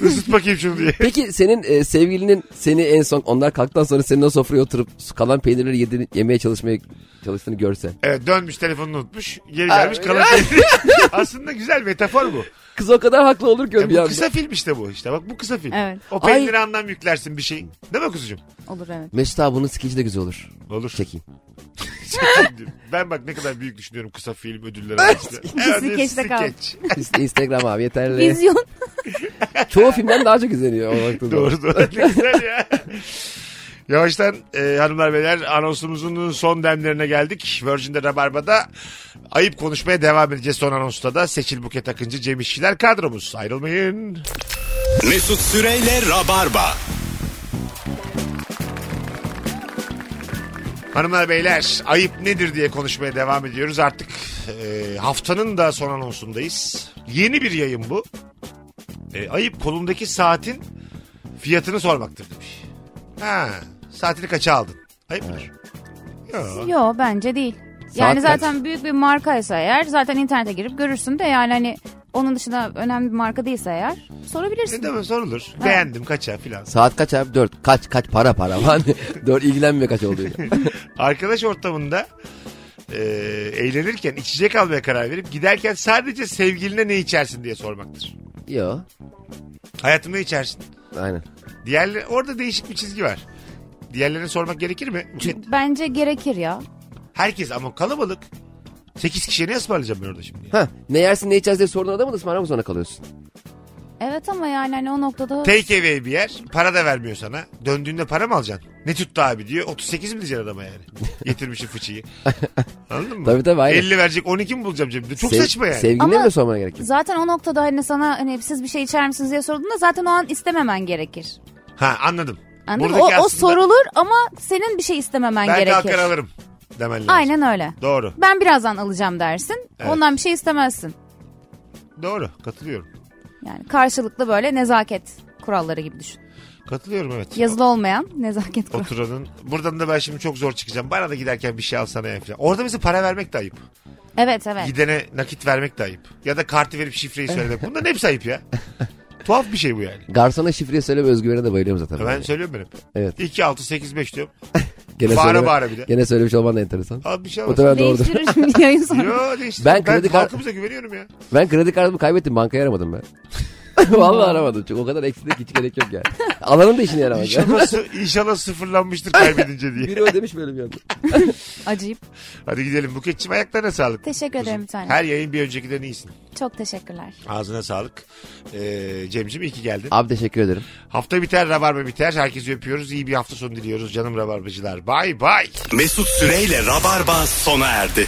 S3: Isıt bakayım şunu diye.
S5: Peki senin e, sevgilinin seni en son onlar kalktıktan sonra senin o sofraya oturup kalan peynirleri yediğini, yemeye çalışmaya çalıştığını görse.
S3: Evet dönmüş telefonunu unutmuş. Geri
S5: Abi.
S3: gelmiş kalan Aslında güzel metafor bu.
S5: Kız o kadar haklı olur ki
S3: E,
S5: bir
S3: bu
S5: anda.
S3: kısa film işte bu işte. Bak bu kısa film.
S4: Evet.
S3: O peynire anlam yüklersin bir şeyin. Değil mi kuzucuğum?
S4: Olur evet.
S5: Mesut abi bunun skeci de güzel olur.
S3: Olur.
S5: Çekeyim.
S3: Çekildim. ben bak ne kadar büyük düşünüyorum kısa film ödülleri arasında.
S4: Skeçte kal.
S3: skeç.
S5: İnst- Instagram abi yeterli.
S3: Ee?
S4: Vizyon.
S5: Çoğu filmden daha çok izleniyor. o baktığında.
S3: Doğru doğru. Ne güzel ya. Yavaştan e, hanımlar beyler anonsumuzun son demlerine geldik. Virgin'de Rabarba'da ayıp konuşmaya devam edeceğiz son anonsta da. Seçil Buket Akıncı, Cem İşçiler kadromuz. Ayrılmayın.
S2: Mesut Süreyle Rabarba.
S3: Hanımlar beyler ayıp nedir diye konuşmaya devam ediyoruz. Artık e, haftanın da son anonsundayız. Yeni bir yayın bu. E, ayıp kolumdaki saatin fiyatını sormaktır demiş. Ha, saatini kaça aldın? Ayıp mıdır? Yo.
S4: Yo bence değil. Yani
S5: Saat kaç?
S4: zaten büyük bir markaysa eğer zaten internete girip görürsün de yani hani onun dışında önemli bir marka değilse eğer sorabilirsin.
S3: Ne demek sorulur. Beğendim kaça filan.
S5: Saat kaç abi? Dört. Kaç kaç para para. Lan Dört ilgilenmiyor kaç olduğu.
S3: Arkadaş ortamında e, eğlenirken içecek almaya karar verip giderken sadece sevgiline ne içersin diye sormaktır.
S5: Yo.
S3: Hayatımda içersin.
S5: Aynen.
S3: Diğerleri orada değişik bir çizgi var. Diğerlerine sormak gerekir mi? Buket?
S4: Bence gerekir ya.
S3: Herkes ama kalabalık. 8 kişiye ne ısmarlayacağım ben orada şimdi?
S5: Ha, ne yersin ne içersin diye sorduğun adamı da ısmarlamak zorunda kalıyorsun.
S4: Evet ama yani hani o noktada
S3: Take away bir yer. Para da vermiyor sana. Döndüğünde para mı alacaksın? Ne tuttu abi diyor. 38 mi diyeceksin adama yani? Getirmişim fıçıyı. Anladın mı?
S5: Tabii tabii, aynen.
S3: 50 verecek 12 mi bulacağım cebimde? Çok
S5: Sev-
S3: saçma yani.
S5: Sevgiline
S4: Ama-
S5: mi sormana gerek yok?
S4: zaten o noktada hani sana hani siz bir şey içer misiniz diye sorduğunda zaten o an istememen gerekir.
S3: Ha anladım.
S4: Anladın mı? O,
S3: Buradaki
S4: o
S3: aslında
S4: sorulur ama senin bir şey istememen
S3: Ben
S4: gerekir.
S3: kalkar alırım demen lazım.
S4: Aynen öyle.
S3: Doğru.
S4: Ben birazdan alacağım dersin.
S3: Evet.
S4: Ondan bir şey istemezsin.
S3: Doğru. Katılıyorum.
S4: Yani karşılıklı böyle nezaket kuralları gibi düşün.
S3: Katılıyorum evet.
S4: Yazılı olmayan nezaket kuralı.
S3: Oturanın. Buradan da ben şimdi çok zor çıkacağım. Bana da giderken bir şey alsana ya falan. Orada mesela para vermek de ayıp.
S4: Evet evet.
S3: Gidene nakit vermek de ayıp. Ya da kartı verip şifreyi söylemek. Bunların hepsi ayıp ya. Tuhaf bir şey bu yani.
S5: Garsona şifreyi söyleme özgüvene de bayılıyorum zaten.
S3: Ben söylüyorum ben hep.
S5: Evet.
S3: 2, 6, 8, 5 diyorum.
S5: Gene
S3: Bağıra
S5: söyleme-
S3: bağıra bir de.
S5: Gene söylemiş olman da enteresan.
S3: Abi bir şey olmaz.
S5: Muhtemelen doğrudur.
S4: Değiştirir şimdi yayın sonra.
S3: Yo değişti. Ben,
S5: Ben
S3: ben
S5: kredi kart-
S3: halkımıza güveniyorum ya.
S5: Ben kredi kartımı kaybettim bankayı aramadım ben. Vallahi aramadım. Çünkü o kadar eksilik hiç gerek yok yani. Alanın da işine yaramaz. yani.
S3: İnşallah, sı- inşallah sıfırlanmıştır kaybedince diye.
S5: Biri ödemiş böyle bir anda.
S4: Acayip.
S3: Hadi gidelim Buketçim ayaklarına sağlık.
S4: Teşekkür ederim bir tane.
S3: Her yayın bir öncekinden iyisin.
S4: Çok teşekkürler.
S3: Ağzına sağlık. Ee, Cem'cim iyi ki geldin.
S5: Abi teşekkür ederim.
S3: Hafta biter, rabarba biter. Herkesi öpüyoruz. İyi bir hafta sonu diliyoruz canım rabarbacılar. Bay bay.
S2: Mesut Süreyle Rabarba sona erdi.